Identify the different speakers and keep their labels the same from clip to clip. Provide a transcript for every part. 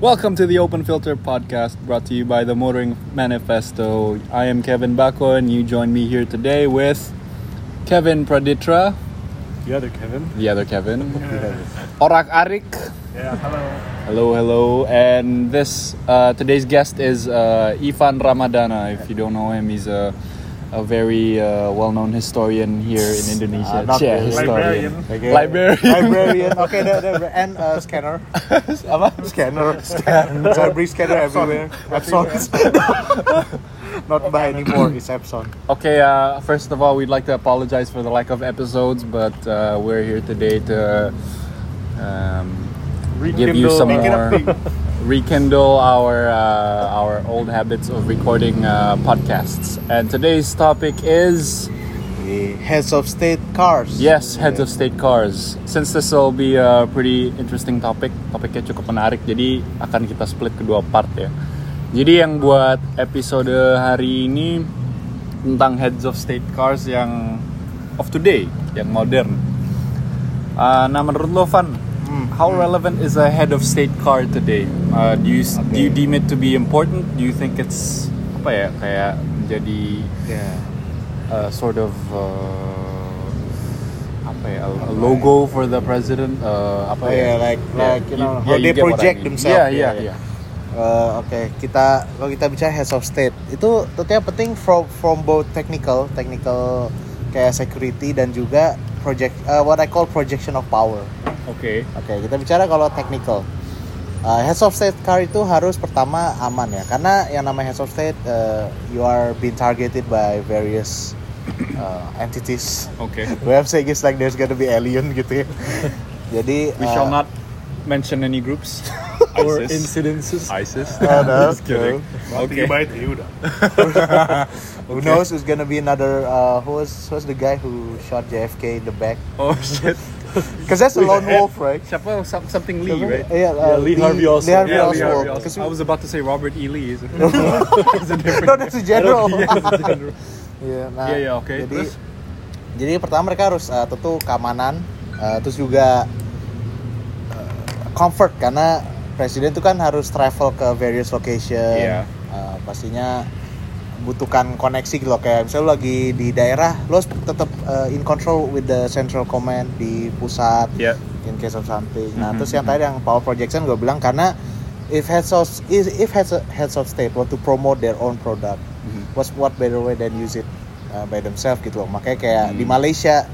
Speaker 1: Welcome to the Open Filter podcast brought to you by the Motoring Manifesto. I am Kevin Bako and you join me here today with Kevin Praditra,
Speaker 2: The other Kevin.
Speaker 1: the other Kevin, Orak Arik.
Speaker 2: Yeah, hello.
Speaker 1: Hello, hello. And this uh, today's guest is uh, Ifan Ramadana. If you don't know him, he's a a very uh, well-known historian here in Indonesia.
Speaker 3: not
Speaker 1: Yeah,
Speaker 3: really.
Speaker 1: historian.
Speaker 3: Okay.
Speaker 1: Librarian.
Speaker 3: Librarian. Okay, there, there, and uh, scanner.
Speaker 1: Apa?
Speaker 3: Scanner. Scanner. So I bring scanner everywhere. Epson. Not by anymore. It's Epson.
Speaker 1: Okay, uh, first of all, we'd like to apologize for the lack of episodes, but uh, we're here today to um, give you some
Speaker 3: make it
Speaker 1: more, rekindle our uh, our old habits of recording uh, podcasts. And today's topic is
Speaker 3: The heads of state cars.
Speaker 1: yes, heads of state cars. Since this will be a pretty interesting topic, topiknya cukup menarik, jadi akan kita split kedua part ya. Jadi yang buat episode hari ini tentang heads of state cars yang of today, yang modern. Uh, nah menurut lo Van, how relevant is a head of state car today? Uh, do you do you deem it to be important? Do you think it's apa ya kayak menjadi
Speaker 3: Yeah.
Speaker 1: a sort of uh, apa ya, a, a logo for the president uh, apa
Speaker 3: Oh,
Speaker 1: ya?
Speaker 3: yeah, like- like, you know, how
Speaker 1: you
Speaker 3: they
Speaker 1: get what
Speaker 3: project themselves.
Speaker 1: yeah yeah
Speaker 3: Yeah,
Speaker 1: yeah
Speaker 3: Uh, Oke, kita kalau kita bicara heads of state itu tentunya penting from from both technical, technical kayak security dan juga project uh, what I call projection of power.
Speaker 1: okay
Speaker 3: Oke, kita bicara kalau technical. Uh, heads of state car itu harus pertama aman ya, karena yang namanya heads of state uh, you are being targeted by various uh, entities.
Speaker 1: okay
Speaker 3: What I'm saying is like there's gonna be alien gitu ya. Jadi
Speaker 1: we
Speaker 3: uh,
Speaker 1: shall not mention any groups
Speaker 2: Or incidences.
Speaker 1: ISIS
Speaker 3: Oh, no.
Speaker 1: just kidding okay
Speaker 3: Who knows who's gonna be another uh, who was who was the guy who shot JFK in the back?
Speaker 1: oh shit
Speaker 3: Because that's a lone wolf, right?
Speaker 1: siapa Some- something Lee right
Speaker 3: Yeah,
Speaker 2: Yeah,
Speaker 3: uh,
Speaker 2: Lee Harvey Oswald.
Speaker 3: Lee Harvey
Speaker 1: yeah, Lee Harvey
Speaker 3: Oswald.
Speaker 1: Oswald.
Speaker 3: 'Cause
Speaker 1: I
Speaker 3: we-
Speaker 1: was about to say Robert E. Lee. Is it? It's a different-
Speaker 3: no, that's a general.
Speaker 2: general.
Speaker 3: Iya, nah,
Speaker 1: Iya, iya, oke.
Speaker 3: Jadi,
Speaker 1: Terus?
Speaker 3: jadi pertama mereka harus eh, tentu keamanan, eh, terus juga eh, comfort karena presiden itu kan harus travel ke various location,
Speaker 1: Iya.
Speaker 3: Eh, pastinya butuhkan koneksi gitu loh kayak misalnya lu lagi di daerah lo harus tetap eh, in control with the central command di pusat
Speaker 1: Yeah.
Speaker 3: in case of something. Nah,
Speaker 1: Mhm,
Speaker 3: terus yang tadi yang power projection gue bilang karena if heads of if if heads of, heads of state want to promote their own product,
Speaker 1: Mhm.
Speaker 3: what's what better way than use it uh, by themselves gitu loh. Makanya kayak di Malaysia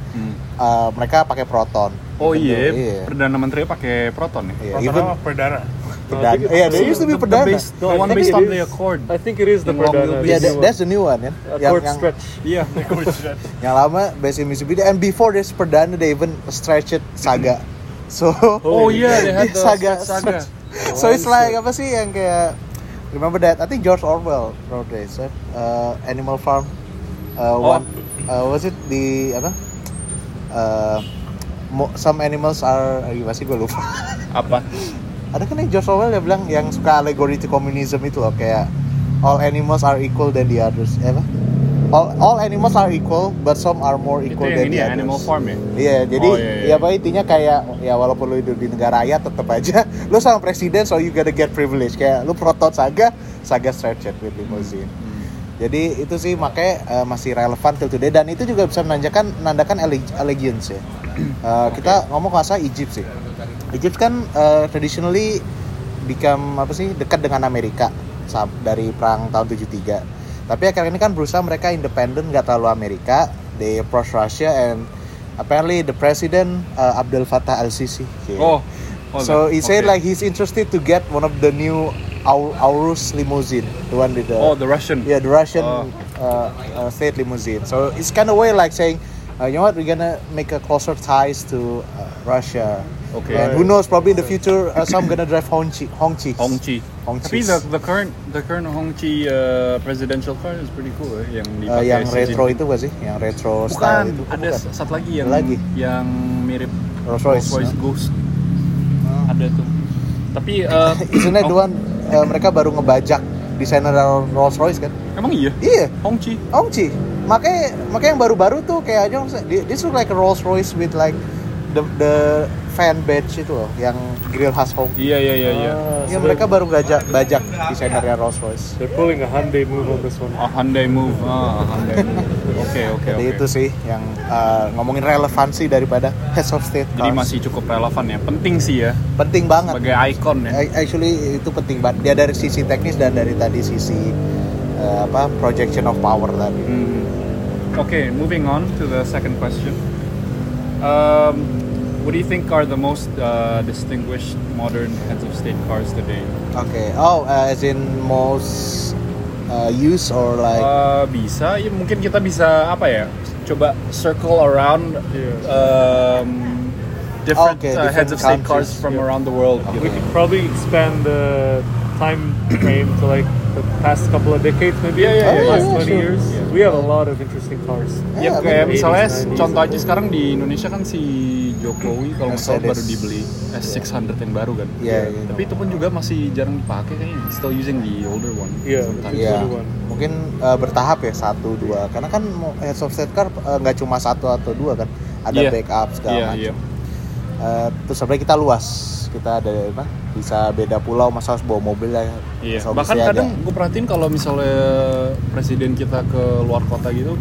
Speaker 3: uh, mereka pakai Proton.
Speaker 1: Hmm. Oh
Speaker 3: Gitu,
Speaker 1: iya,
Speaker 3: iya.
Speaker 1: perdana menteri pakai proton ya.
Speaker 3: Iya, even
Speaker 4: Perdana.
Speaker 3: perdana. Iya, there used to
Speaker 1: The-
Speaker 3: be
Speaker 1: the
Speaker 3: perdana.
Speaker 1: base- the
Speaker 2: I
Speaker 1: one
Speaker 2: think
Speaker 1: based
Speaker 2: it
Speaker 1: on
Speaker 2: is.
Speaker 1: the accord.
Speaker 2: I think it is the
Speaker 1: In long
Speaker 2: Perdana.
Speaker 1: wheelbase.
Speaker 3: Yeah,
Speaker 2: the
Speaker 3: that-
Speaker 2: new
Speaker 3: that's the new one
Speaker 1: Uh,
Speaker 2: one.
Speaker 3: kan.
Speaker 2: A
Speaker 3: Yang
Speaker 2: court
Speaker 3: yang,
Speaker 2: stretch.
Speaker 1: Iya.
Speaker 3: yang lama based in Mitsubishi and before this perdana they even stretch it Saga. So
Speaker 1: Oh yeah, they had
Speaker 3: Di
Speaker 1: the
Speaker 3: Saga.
Speaker 1: Saga. Oh,
Speaker 3: so it's like apa sih yang kayak remember that I think George Orwell wrote this right? uh, Animal Farm uh,
Speaker 1: Oh.
Speaker 3: one uh, was it the apa uh, mo- some animals are uh, gimana sih gue lupa
Speaker 1: Apa?
Speaker 3: ada kan yang George Orwell dia bilang yang suka alegori to communism itu loh kayak all animals are equal than the others Eh, apa all, all animals are equal but some are more
Speaker 1: Itu
Speaker 3: equal
Speaker 1: yang
Speaker 3: than
Speaker 1: ini
Speaker 3: the
Speaker 1: ya,
Speaker 3: others
Speaker 1: Animal Farm ya.
Speaker 3: Iya, jadi
Speaker 1: Oh, iya, iya.
Speaker 3: ya apa intinya kayak ya walaupun lu hidup di negara ayat tetap aja lu sama presiden so you gotta get privilege kayak lu protot saga saga stretched with limousine.
Speaker 1: Hmm.
Speaker 3: Jadi itu sih makanya eh, masih relevan till today dan itu juga bisa menandakan menandakan alle- allegiance ya. Eh, Kita ngomong kalau nggak salah Egypt sih. Egypt kan eh, traditionally become apa sih dekat dengan Amerika sam- dari perang tahun 73. Tapi akhirnya ini kan berusaha mereka independen nggak terlalu Amerika. They approach Russia and apparently the president uh, Abdel Fattah Al Sisi.
Speaker 1: Oh. oh,
Speaker 3: so
Speaker 1: that-
Speaker 3: he said
Speaker 1: okay.
Speaker 3: like he's interested to get one of the new Au- Aurus limousine, the one with the
Speaker 1: Oh, the Russian.
Speaker 3: yeah the Russian
Speaker 1: Oh.
Speaker 3: uh, uh, state limousine. So it's kind of way like saying, uh, you know what, we're gonna make a closer ties to uh, Russia.
Speaker 1: Okay.
Speaker 3: And who knows? Probably in the future, uh, some gonna drive Hongchi. Hongchi.
Speaker 1: Hong Chi.
Speaker 3: Hong
Speaker 1: Tapi
Speaker 3: Chis.
Speaker 1: the, the current the current Hong Chi uh, presidential car is pretty cool ya, yang
Speaker 3: Uh,
Speaker 1: dipakai
Speaker 3: yang
Speaker 1: Xi
Speaker 3: retro
Speaker 1: Jinping.
Speaker 3: itu gak sih? Yang retro
Speaker 1: Bukan,
Speaker 3: style itu?
Speaker 1: ada
Speaker 3: Bukan.
Speaker 1: satu lagi yang
Speaker 3: Lagi.
Speaker 1: yang mirip
Speaker 3: Rolls Royce. ya.
Speaker 1: Rolls Royce Ghost.
Speaker 3: Hmm.
Speaker 1: Ada tuh. Tapi uh,
Speaker 3: Isn't that the
Speaker 1: Hong-
Speaker 3: one uh, mereka baru ngebajak desainer Rolls Royce kan?
Speaker 1: Emang iya?
Speaker 3: Iya,
Speaker 1: Hong Chi.
Speaker 3: Ongci. Makanya makanya yang baru-baru tuh kayak aja this look like a Rolls Royce with like the, the fan badge itu loh yang grill khas Hong
Speaker 1: Iya iya iya iya.
Speaker 2: Ah,
Speaker 3: Ya
Speaker 2: so
Speaker 3: mereka
Speaker 2: they're,
Speaker 3: baru ngajak bajak desainernya Rolls Royce.
Speaker 2: they're pulling a Hyundai move on this one.
Speaker 1: Ah, Hyundai Move. Ah, Hyundai Move. Oke oke
Speaker 3: Jadi
Speaker 1: Ya, oke.
Speaker 3: itu sih yang uh, ngomongin relevansi daripada heads of state.
Speaker 1: Jadi
Speaker 3: cars.
Speaker 1: masih cukup relevan ya. Penting sih ya
Speaker 3: penting banget.
Speaker 1: sebagai ikon ya.
Speaker 3: A- Actually itu penting banget. Dia dari sisi teknis dan dari tadi sisi uh, apa projection of power tadi.
Speaker 1: Hmm. Okay, moving on to the second question. Um, what do you think are the most uh, distinguished modern heads of state cars today?
Speaker 3: Oke. Oh, uh, as in most uh, use or like
Speaker 1: Uh, bisa, ya mungkin kita bisa apa ya? Coba circle around
Speaker 2: Yeah.
Speaker 1: um, different,
Speaker 3: Okay,
Speaker 1: uh, heads
Speaker 3: different
Speaker 1: of state cars
Speaker 3: countries,
Speaker 1: from
Speaker 2: yeah.
Speaker 1: around the world.
Speaker 2: We
Speaker 1: gitu.
Speaker 2: could probably expand the time frame to like the past couple of decades, maybe.
Speaker 1: Yeah, yeah,
Speaker 3: yeah,
Speaker 2: Last 20
Speaker 3: yeah, sure.
Speaker 2: years.
Speaker 1: Yeah.
Speaker 2: We have a lot of interesting cars.
Speaker 1: Ya
Speaker 3: Yeah,
Speaker 1: kayak
Speaker 2: bener.
Speaker 1: misalnya
Speaker 3: iya,
Speaker 2: 80s, 90s.
Speaker 1: contoh aja sekarang di Indonesia kan si Jokowi kalau nggak salah
Speaker 3: Mercedes.
Speaker 1: baru dibeli S600 yang baru kan.
Speaker 3: Iya, iya.
Speaker 1: Tapi itu pun juga masih jarang dipakai kayaknya. Still using the older one.
Speaker 2: Iya,
Speaker 1: sometimes.
Speaker 2: betul.
Speaker 3: Iya,
Speaker 2: 21.
Speaker 3: mungkin uh, bertahap ya satu dua, karena kan mau heads of state car uh, nggak cuma satu atau dua kan, ada
Speaker 1: Iya.
Speaker 3: backup segala
Speaker 1: Iya,
Speaker 3: macam.
Speaker 1: iya.
Speaker 3: Eh, terus sebenarnya kita luas kita ada apa bisa beda pulau masa harus bawa mobil ya
Speaker 1: Iya.
Speaker 3: Masa
Speaker 1: Bahkan
Speaker 3: mesti ada.
Speaker 1: kadang gue perhatiin kalau misalnya presiden kita ke luar kota gitu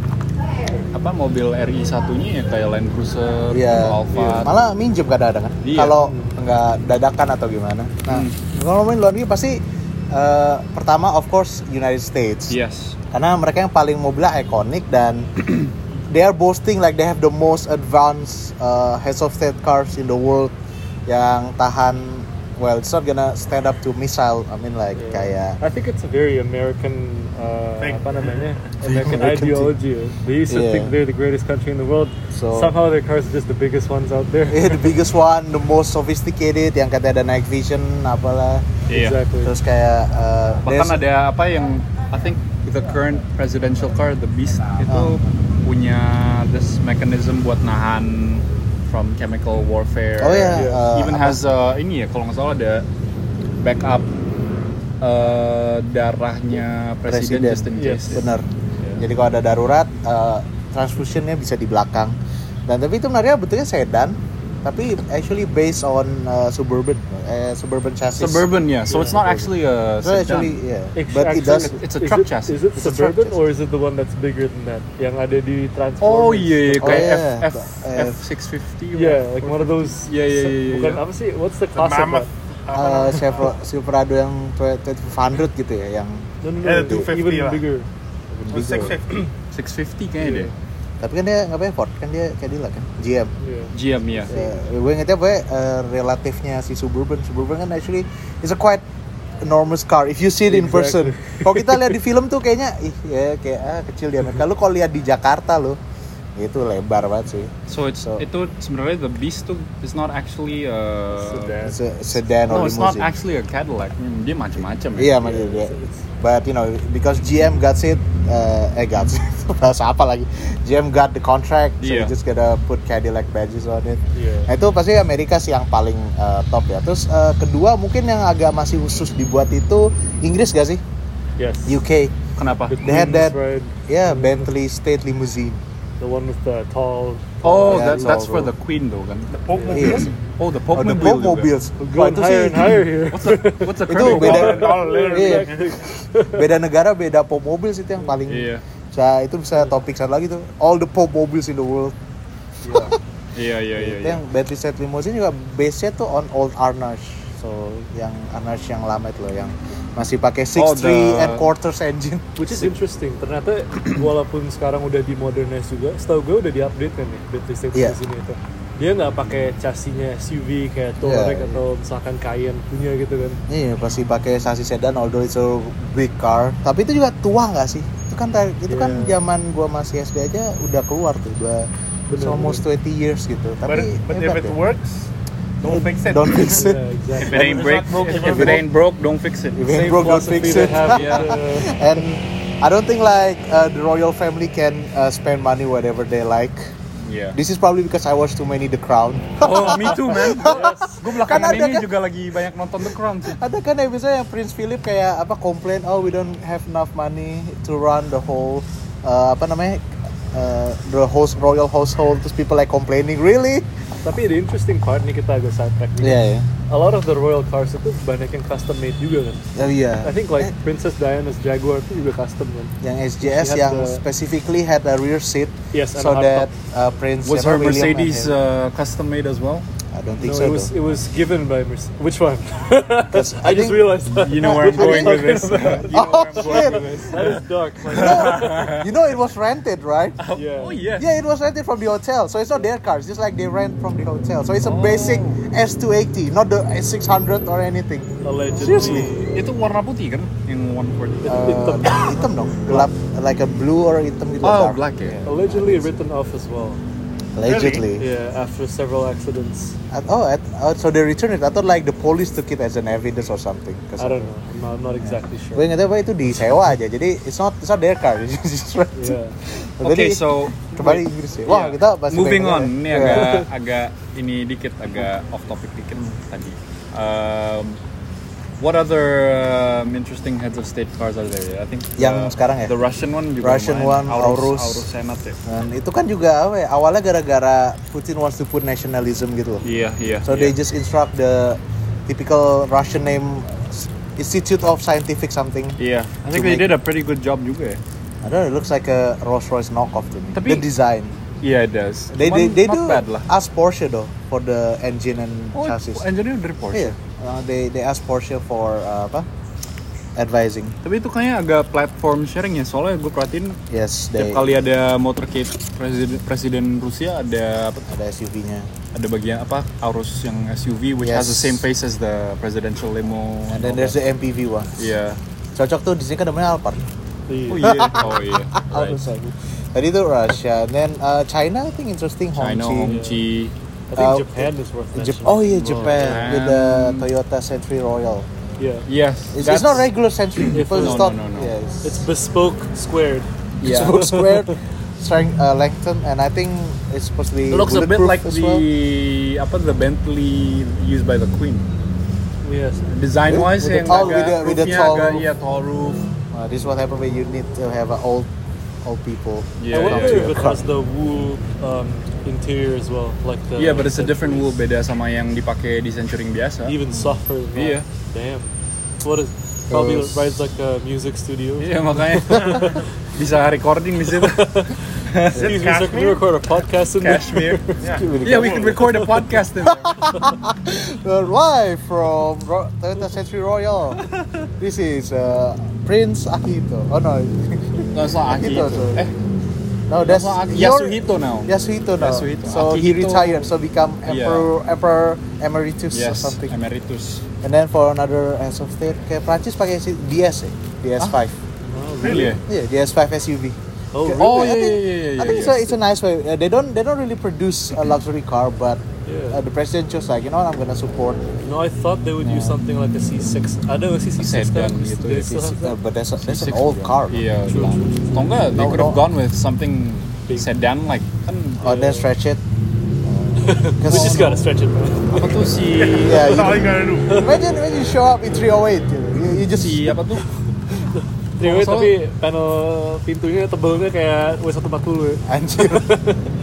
Speaker 1: apa mobil RI satunya ya kayak Land Cruiser,
Speaker 3: Iya.
Speaker 1: Alfa.
Speaker 3: malah minjem kadang-kadang kan
Speaker 1: Iya.
Speaker 3: kalau nggak dadakan atau gimana nah
Speaker 1: Hmm.
Speaker 3: kalau ngomongin luar negeri pasti eh, pertama of course United States
Speaker 1: Yes.
Speaker 3: karena mereka yang paling mobilnya ikonik dan they are boasting like they have the most advanced uh, heads of state cars in the world yang tahan well it's not gonna stand up to missile I mean like
Speaker 1: Iya.
Speaker 3: kayak
Speaker 2: I think it's a very American, uh, apa namanya? American
Speaker 3: American
Speaker 2: ideology. They used to
Speaker 3: Yeah.
Speaker 2: think they're the greatest country in the world.
Speaker 3: So-
Speaker 2: Somehow their cars are just the biggest ones out there.
Speaker 3: Eh, the biggest one, the most sophisticated yang katanya ada night vision apalah.
Speaker 1: Iya.
Speaker 2: Exactly.
Speaker 3: Terus kayak eh,
Speaker 1: Bahkan
Speaker 3: there's-
Speaker 1: ada apa yang I think the current presidential car the Beast itu
Speaker 3: Oh.
Speaker 1: punya this mechanism buat nahan from chemical warfare.
Speaker 3: Oh,
Speaker 1: It
Speaker 3: iya. Yeah.
Speaker 1: Even
Speaker 3: Uh, apa?
Speaker 1: has uh, ini ya kalau nggak salah ada backup uh, darahnya presiden,
Speaker 3: Presiden.
Speaker 1: just in
Speaker 2: Yes,
Speaker 1: case.
Speaker 3: bener.
Speaker 1: Iya.
Speaker 3: Jadi kalau ada darurat eh, transfusionnya bisa di belakang. Dan tapi itu sebenarnya bentuknya sedan, tapi actually based on eh, suburban eh, suburban chassis.
Speaker 1: Suburban ya, so it's not actually a
Speaker 3: So
Speaker 1: sedan.
Speaker 3: actually yeah,
Speaker 2: Ex-
Speaker 3: but
Speaker 2: actually,
Speaker 3: it does.
Speaker 1: It's a
Speaker 2: is
Speaker 1: truck
Speaker 2: it-
Speaker 1: chassis.
Speaker 2: Is it
Speaker 3: It's a truck
Speaker 2: suburban
Speaker 3: chassis.
Speaker 2: or is it the one that's bigger than that? Yang ada di Transformers.
Speaker 1: Oh iya, iya,
Speaker 3: Oh,
Speaker 1: kayak
Speaker 3: iya.
Speaker 1: F F F
Speaker 3: F-
Speaker 1: 650.
Speaker 2: Yeah, like one of those.
Speaker 1: Yeah, yeah, yeah, yeah,
Speaker 2: Bukan
Speaker 1: yeah.
Speaker 2: apa sih? What's the class of that?
Speaker 4: mammoth.
Speaker 3: eh, Chevro- Silverado yang 2500 gitu ya, yang
Speaker 2: No, no, no,
Speaker 4: Eh,
Speaker 2: the
Speaker 4: 250
Speaker 2: even
Speaker 4: lah.
Speaker 2: bigger.
Speaker 1: Oh,
Speaker 4: Or 650.
Speaker 1: 650 kayaknya deh.
Speaker 3: tapi kan dia nggak pakai Ford, kan dia Cadillac kan, GM.
Speaker 2: Yeah.
Speaker 1: GM ya.
Speaker 3: Yeah, gue Iya, ingetnya gue eh, relatifnya si Suburban Suburban kan actually is a quite enormous car if you see it in person.
Speaker 2: Exactly.
Speaker 3: Kalau kita lihat di film tuh kayaknya ih ya kayak ah, kecil diameter. Lu kalau lihat di Jakarta lo itu lebar banget sih.
Speaker 1: So it's
Speaker 3: So-
Speaker 1: itu sebenarnya the Beast tuh is not actually uh,
Speaker 2: Sedan.
Speaker 3: Se- Sedan
Speaker 1: No,
Speaker 3: or
Speaker 1: it's not
Speaker 3: limousine.
Speaker 1: actually a Cadillac. Hmm, Dia macam-macam ya.
Speaker 3: Iya, makanya dia. But you know, because GM got it, uh, eh got it, bahasa apa lagi? GM got the contract, so
Speaker 1: Iya.
Speaker 3: you just gotta put Cadillac badges on it.
Speaker 2: Iya.
Speaker 3: Nah, itu pasti Amerika sih yang paling uh, top ya. Terus uh, kedua mungkin yang agak masih khusus dibuat itu Inggris gak sih?
Speaker 2: Yes.
Speaker 3: UK.
Speaker 1: Kenapa?
Speaker 2: The
Speaker 3: They
Speaker 2: Queen's
Speaker 3: had that-
Speaker 2: ride,
Speaker 3: Ya, Bentley State Limousine.
Speaker 2: the one with the tall.
Speaker 1: Oh,
Speaker 3: Yeah,
Speaker 1: that,
Speaker 3: it's
Speaker 1: that's for
Speaker 3: all road.
Speaker 1: the Queen though kan.
Speaker 4: Pope
Speaker 3: Iya
Speaker 4: mobiles.
Speaker 3: sih.
Speaker 1: Oh, the
Speaker 3: Oh,
Speaker 1: Pope
Speaker 3: the
Speaker 1: mobil.
Speaker 3: Pope
Speaker 1: juga.
Speaker 3: Mobiles.
Speaker 2: We're
Speaker 3: Wah,
Speaker 2: going
Speaker 3: itu
Speaker 2: higher
Speaker 3: sih
Speaker 2: and higher here.
Speaker 1: What's the what's the
Speaker 3: Itu
Speaker 1: current
Speaker 3: beda.
Speaker 1: model?
Speaker 4: And all literally.
Speaker 3: Iya.
Speaker 2: Exactly.
Speaker 3: beda negara beda Pope Mobiles itu yang paling.
Speaker 1: Iya.
Speaker 3: Nah, itu bisa topik satu lagi tuh. All the Pope Mobiles in the world.
Speaker 1: Iya, iya, iya.
Speaker 3: Itu
Speaker 1: iya.
Speaker 3: yang Bentley State Limousine juga base-nya tuh on old Arnage. So, yang Arnage yang lama itu loh yang masih pakai 6.3
Speaker 1: Oh, the-
Speaker 3: and quarters engine.
Speaker 2: Which is interesting. Ternyata walaupun sekarang udah di modernize juga, setahu gue udah diupdate kan nih Bentley State
Speaker 3: Iya.
Speaker 2: Limousine itu. Dia nggak pakai chassis-nya SUV kayak Touareg
Speaker 3: Iya, iya.
Speaker 2: atau misalkan Cayenne punya gitu kan.
Speaker 3: Iya, pasti pakai sasi sedan although it's a big car. Tapi itu juga tua nggak sih? Itu kan tar- itu kan
Speaker 2: Iya.
Speaker 3: zaman gua masih SD aja udah keluar tuh. Udah it's
Speaker 2: Bener,
Speaker 3: almost 20 years gitu.
Speaker 4: But,
Speaker 3: Tapi
Speaker 4: but if it
Speaker 3: hebat ya.
Speaker 4: works, don't fix it.
Speaker 3: Don't fix it.
Speaker 1: If
Speaker 2: Yeah, Iya, exactly.
Speaker 1: it ain't break, if, if it ain't broke, don't fix it.
Speaker 3: If it
Speaker 2: Same
Speaker 3: ain't broke, don't
Speaker 2: philosophy
Speaker 3: fix
Speaker 2: they
Speaker 3: it.
Speaker 2: have,
Speaker 1: Yeah.
Speaker 2: uh,
Speaker 3: And I don't think like uh, the royal family can uh, spend money whatever they like.
Speaker 1: Yeah.
Speaker 3: This is probably because I watch too many The Crown.
Speaker 1: Oh, me too, man. Gue belakangan
Speaker 3: Kan ada
Speaker 1: ini
Speaker 3: kan-
Speaker 1: juga lagi banyak nonton The Crown sih.
Speaker 3: Ada kan episode yang Prince Philip kayak apa komplain, oh we don't have enough money to run the whole uh, apa namanya uh, the host royal household terus people like complaining really
Speaker 2: Tapi the interesting part nih kita agak sidetrack nih.
Speaker 3: Iya, iya.
Speaker 2: A lot of the royal cars itu banyak yang custom made juga kan.
Speaker 3: oh iya
Speaker 2: I think like Princess Diana's Jaguar itu juga custom kan.
Speaker 3: yang SJS
Speaker 2: She had
Speaker 3: yang
Speaker 2: the-
Speaker 3: specifically had a rear seat
Speaker 2: Yes, and
Speaker 3: so
Speaker 2: a hard
Speaker 3: that uh, Prince
Speaker 1: Was her
Speaker 3: siapa, William and
Speaker 1: Mercedes
Speaker 3: him-
Speaker 1: uh, custom made as well?
Speaker 3: I don't think
Speaker 2: No,
Speaker 3: so
Speaker 2: it was
Speaker 3: though.
Speaker 2: it was given by Mercedes. Which one?
Speaker 3: 'Cause
Speaker 2: I, just
Speaker 3: think-
Speaker 2: realized that.
Speaker 1: You know where I'm
Speaker 3: What are you
Speaker 1: going with this.
Speaker 2: talking
Speaker 1: You know
Speaker 3: Oh,
Speaker 1: where I'm going with
Speaker 3: shit.
Speaker 1: this.
Speaker 2: that is dark. Like,
Speaker 3: You know it was rented, right?
Speaker 2: yeah.
Speaker 1: Oh yeah.
Speaker 3: Yeah, it was rented from the hotel. So it's not their car. It's just like they rent from the hotel. So it's
Speaker 2: Oh.
Speaker 3: a basic S280, not the S600 or anything.
Speaker 2: Allegedly.
Speaker 3: Seriously?
Speaker 1: Itu warna putih kan yang 140.
Speaker 3: Uh, hitam dong. Gelap, like a blue or hitam gitu.
Speaker 1: Oh,
Speaker 3: dark.
Speaker 1: black ya.
Speaker 2: Allegedly written off as well.
Speaker 3: Allegedly.
Speaker 2: Yeah, after several accidents.
Speaker 3: At- oh, at, oh, so they returned it. I thought like the police took it as an evidence or something. 'Cause-
Speaker 2: I don't know. I'm not, I'm not exactly sure.
Speaker 3: Gue ingetnya apa itu disewa aja. Jadi it's not it's not their car. It's just rented.
Speaker 2: Yeah.
Speaker 1: Oke,
Speaker 3: Jadi,
Speaker 1: so
Speaker 3: kembali Inggris ya. Wah,
Speaker 1: Yeah.
Speaker 3: kita bahas Iya.
Speaker 1: moving
Speaker 3: banyak
Speaker 1: on.
Speaker 3: banget.
Speaker 1: Ini
Speaker 3: Yeah.
Speaker 1: agak agak ini dikit agak off topic dikit tadi. Um, what other um, interesting heads of state cars are there? I think
Speaker 3: Yang sekarang ya?
Speaker 1: The Russian one juga
Speaker 3: Russian
Speaker 1: lumayan.
Speaker 3: one, Aurus.
Speaker 1: Aurus Aurus Senat ya.
Speaker 3: Dan itu kan juga apa ya, awalnya gara-gara Putin wants to put nationalism gitu loh.
Speaker 1: Iya, iya.
Speaker 3: So
Speaker 1: iya.
Speaker 3: they just instruct the typical Russian name Institute of Scientific something.
Speaker 1: Iya, I think
Speaker 3: to
Speaker 1: they
Speaker 3: make-
Speaker 1: did a pretty good job juga ya.
Speaker 3: I don't know, it looks like a Rolls Royce knockoff to me.
Speaker 1: Tapi-
Speaker 3: the design.
Speaker 1: Iya, it does.
Speaker 3: They
Speaker 1: Cuman
Speaker 3: they, they
Speaker 1: not
Speaker 3: do
Speaker 1: bad lah.
Speaker 3: ask Porsche though for the engine and
Speaker 1: Oh,
Speaker 3: chassis.
Speaker 1: engineer dari Porsche.
Speaker 3: Yeah. Uh, they they ask Porsche for uh, apa? Advising.
Speaker 1: Tapi itu kayaknya agak platform sharing ya, soalnya gue perhatiin
Speaker 3: Yes,
Speaker 1: tiap
Speaker 3: they
Speaker 1: kali ada motorcade presiden presiden Rusia ada apa-
Speaker 3: ada SUV-nya.
Speaker 1: ada bagian apa Aurus yang SUV which has
Speaker 3: Yes.
Speaker 1: the same face as the presidential limo.
Speaker 3: And then there's the MPV one.
Speaker 1: Iya.
Speaker 3: Cocok tuh di sini kan namanya Alphard.
Speaker 1: Oh
Speaker 2: The-
Speaker 1: iya. Oh iya. Right.
Speaker 3: Alphard lagi. Tadi itu Russia, And then uh, China I think interesting
Speaker 1: China
Speaker 3: Hongqi.
Speaker 1: Hongqi.
Speaker 2: I
Speaker 3: Uh,
Speaker 2: think Japan is worth
Speaker 3: Jap-
Speaker 2: mentioning.
Speaker 3: oh
Speaker 2: as
Speaker 3: yeah,
Speaker 2: well.
Speaker 3: Japan
Speaker 1: Japan.
Speaker 3: with the Toyota Century Royal.
Speaker 2: Yeah.
Speaker 1: Yes.
Speaker 3: It's,
Speaker 1: that's-
Speaker 3: it's not regular Century.
Speaker 2: If-
Speaker 3: People
Speaker 2: no,
Speaker 1: no,
Speaker 3: just thought
Speaker 1: no, no.
Speaker 3: yeah, it's,
Speaker 2: It's bespoke squared.
Speaker 3: it's
Speaker 1: Yeah.
Speaker 3: book squared, strength, uh, lengthened, and I think it's supposed to be
Speaker 1: It looks a bit
Speaker 3: bulletproof
Speaker 1: like
Speaker 3: as
Speaker 1: the
Speaker 3: well.
Speaker 1: apa the Bentley used by the Queen.
Speaker 2: Yes.
Speaker 1: Design wise
Speaker 3: With the
Speaker 1: yang
Speaker 3: tall-
Speaker 1: agak
Speaker 3: with the- with the
Speaker 1: roofnya
Speaker 3: tall
Speaker 1: agak
Speaker 3: roof.
Speaker 1: iya tall roof.
Speaker 3: Uh, this is what happened when you need to have an old, old people.
Speaker 1: Yeah,
Speaker 2: I wonder
Speaker 1: yeah,
Speaker 2: if it
Speaker 3: yeah.
Speaker 2: has the wool um, interior as well, like the.
Speaker 1: Iya, but it's a different wool
Speaker 2: Centuries.
Speaker 1: beda sama yang dipakai di centuring biasa.
Speaker 2: Even softer. Than that.
Speaker 1: Yeah.
Speaker 2: Damn. What is? Probably
Speaker 3: Those-
Speaker 2: rides like a music studio.
Speaker 1: Iya makanya bisa recording di situ.
Speaker 2: Excuse me, sir, can you record a podcast in there?
Speaker 1: Kashmir.
Speaker 4: Yeah.
Speaker 1: Yeah, we could record a podcast in there.
Speaker 3: We're Uh, live from Ro- Toyota Century Royal. this is uh, Prince Akito. Oh no,
Speaker 1: Gak usah Akito.
Speaker 3: Akito, sorry.
Speaker 1: Eh,
Speaker 3: no, that's
Speaker 1: That's Aki-
Speaker 3: your-
Speaker 1: Yasuhito now.
Speaker 3: Yasuhito now.
Speaker 1: Yasuhito.
Speaker 3: So he
Speaker 1: Akihito-
Speaker 3: retired, so become
Speaker 1: Yeah.
Speaker 3: emperor, emperor emeritus or
Speaker 1: Yes,
Speaker 3: something.
Speaker 1: emeritus.
Speaker 3: And then for another as of state, kayak Prancis pakai si DS ya, DS5.
Speaker 2: Oh,
Speaker 1: Really?
Speaker 3: Yeah, DS5 SUV.
Speaker 2: Oh, really?
Speaker 3: Kayak-
Speaker 1: Oh, yeah,
Speaker 3: I
Speaker 1: yeah, yeah,
Speaker 3: think,
Speaker 1: yeah,
Speaker 3: I think
Speaker 1: yeah,
Speaker 3: it's, a,
Speaker 1: yeah.
Speaker 3: it's a nice way. Uh, they don't they don't really produce a luxury car, but
Speaker 2: Yeah.
Speaker 3: uh, the president chose like you know what, I'm gonna support.
Speaker 2: No, I thought they would use something like a C6. I don't know, a C6
Speaker 1: Sedan
Speaker 2: now?
Speaker 1: gitu
Speaker 2: They
Speaker 1: ya,
Speaker 2: still
Speaker 3: this,
Speaker 2: have
Speaker 3: uh,
Speaker 2: that?
Speaker 3: but that's, a, that's an
Speaker 1: C6
Speaker 3: old
Speaker 1: juga.
Speaker 3: car.
Speaker 1: Iya.
Speaker 2: True,
Speaker 1: bilang.
Speaker 2: true,
Speaker 1: Atau enggak, they
Speaker 3: No,
Speaker 1: could have
Speaker 3: no.
Speaker 1: gone with something
Speaker 2: Big.
Speaker 1: sedan like kan
Speaker 3: Oh, then stretch it.
Speaker 2: We
Speaker 3: Because
Speaker 2: just gotta stretch it, man.
Speaker 1: apa tuh si
Speaker 3: yeah,
Speaker 4: That's all you
Speaker 3: you,
Speaker 4: gotta do.
Speaker 3: imagine when you show up in 308, you, know, you- you just
Speaker 1: si apa tuh?
Speaker 2: Anyway,
Speaker 1: Kalau
Speaker 2: tapi panel pintunya tebalnya kayak W140 ya.
Speaker 3: anjir.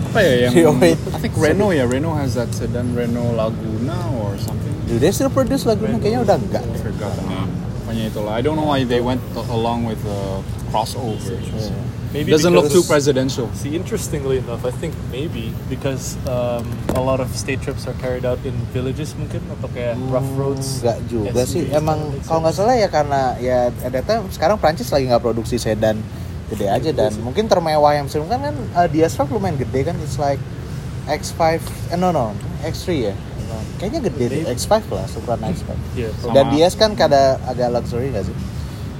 Speaker 1: Apa ya yang
Speaker 3: Wait.
Speaker 1: I think Renault ya, Renault has that sedan Renault Laguna or something.
Speaker 3: Do they still produce Laguna? Kayaknya udah enggak.
Speaker 1: I forgot the name. Pokoknya itulah. I don't know why they went to- along with the crossover.
Speaker 2: Maybe
Speaker 1: Doesn't look too
Speaker 2: because-
Speaker 1: presidential.
Speaker 2: See, interestingly enough, I think maybe because um, a lot of state trips are carried out in villages mungkin atau kayak rough roads.
Speaker 3: Enggak juga
Speaker 2: SUVs,
Speaker 3: sih.
Speaker 2: that
Speaker 3: Emang
Speaker 2: makes sense.
Speaker 3: kalau nggak salah ya karena ya ada time sekarang Prancis lagi nggak produksi sedan gede aja dan mungkin termewah yang sebelum kan kan uh, DS5 lumayan gede kan it's like X5 eh, no no X3 ya. Kayaknya gede deh X5 lah ukuran X5.
Speaker 2: Yeah,
Speaker 1: Sama.
Speaker 2: so-
Speaker 3: Dan DS kan kada agak luxury nggak sih?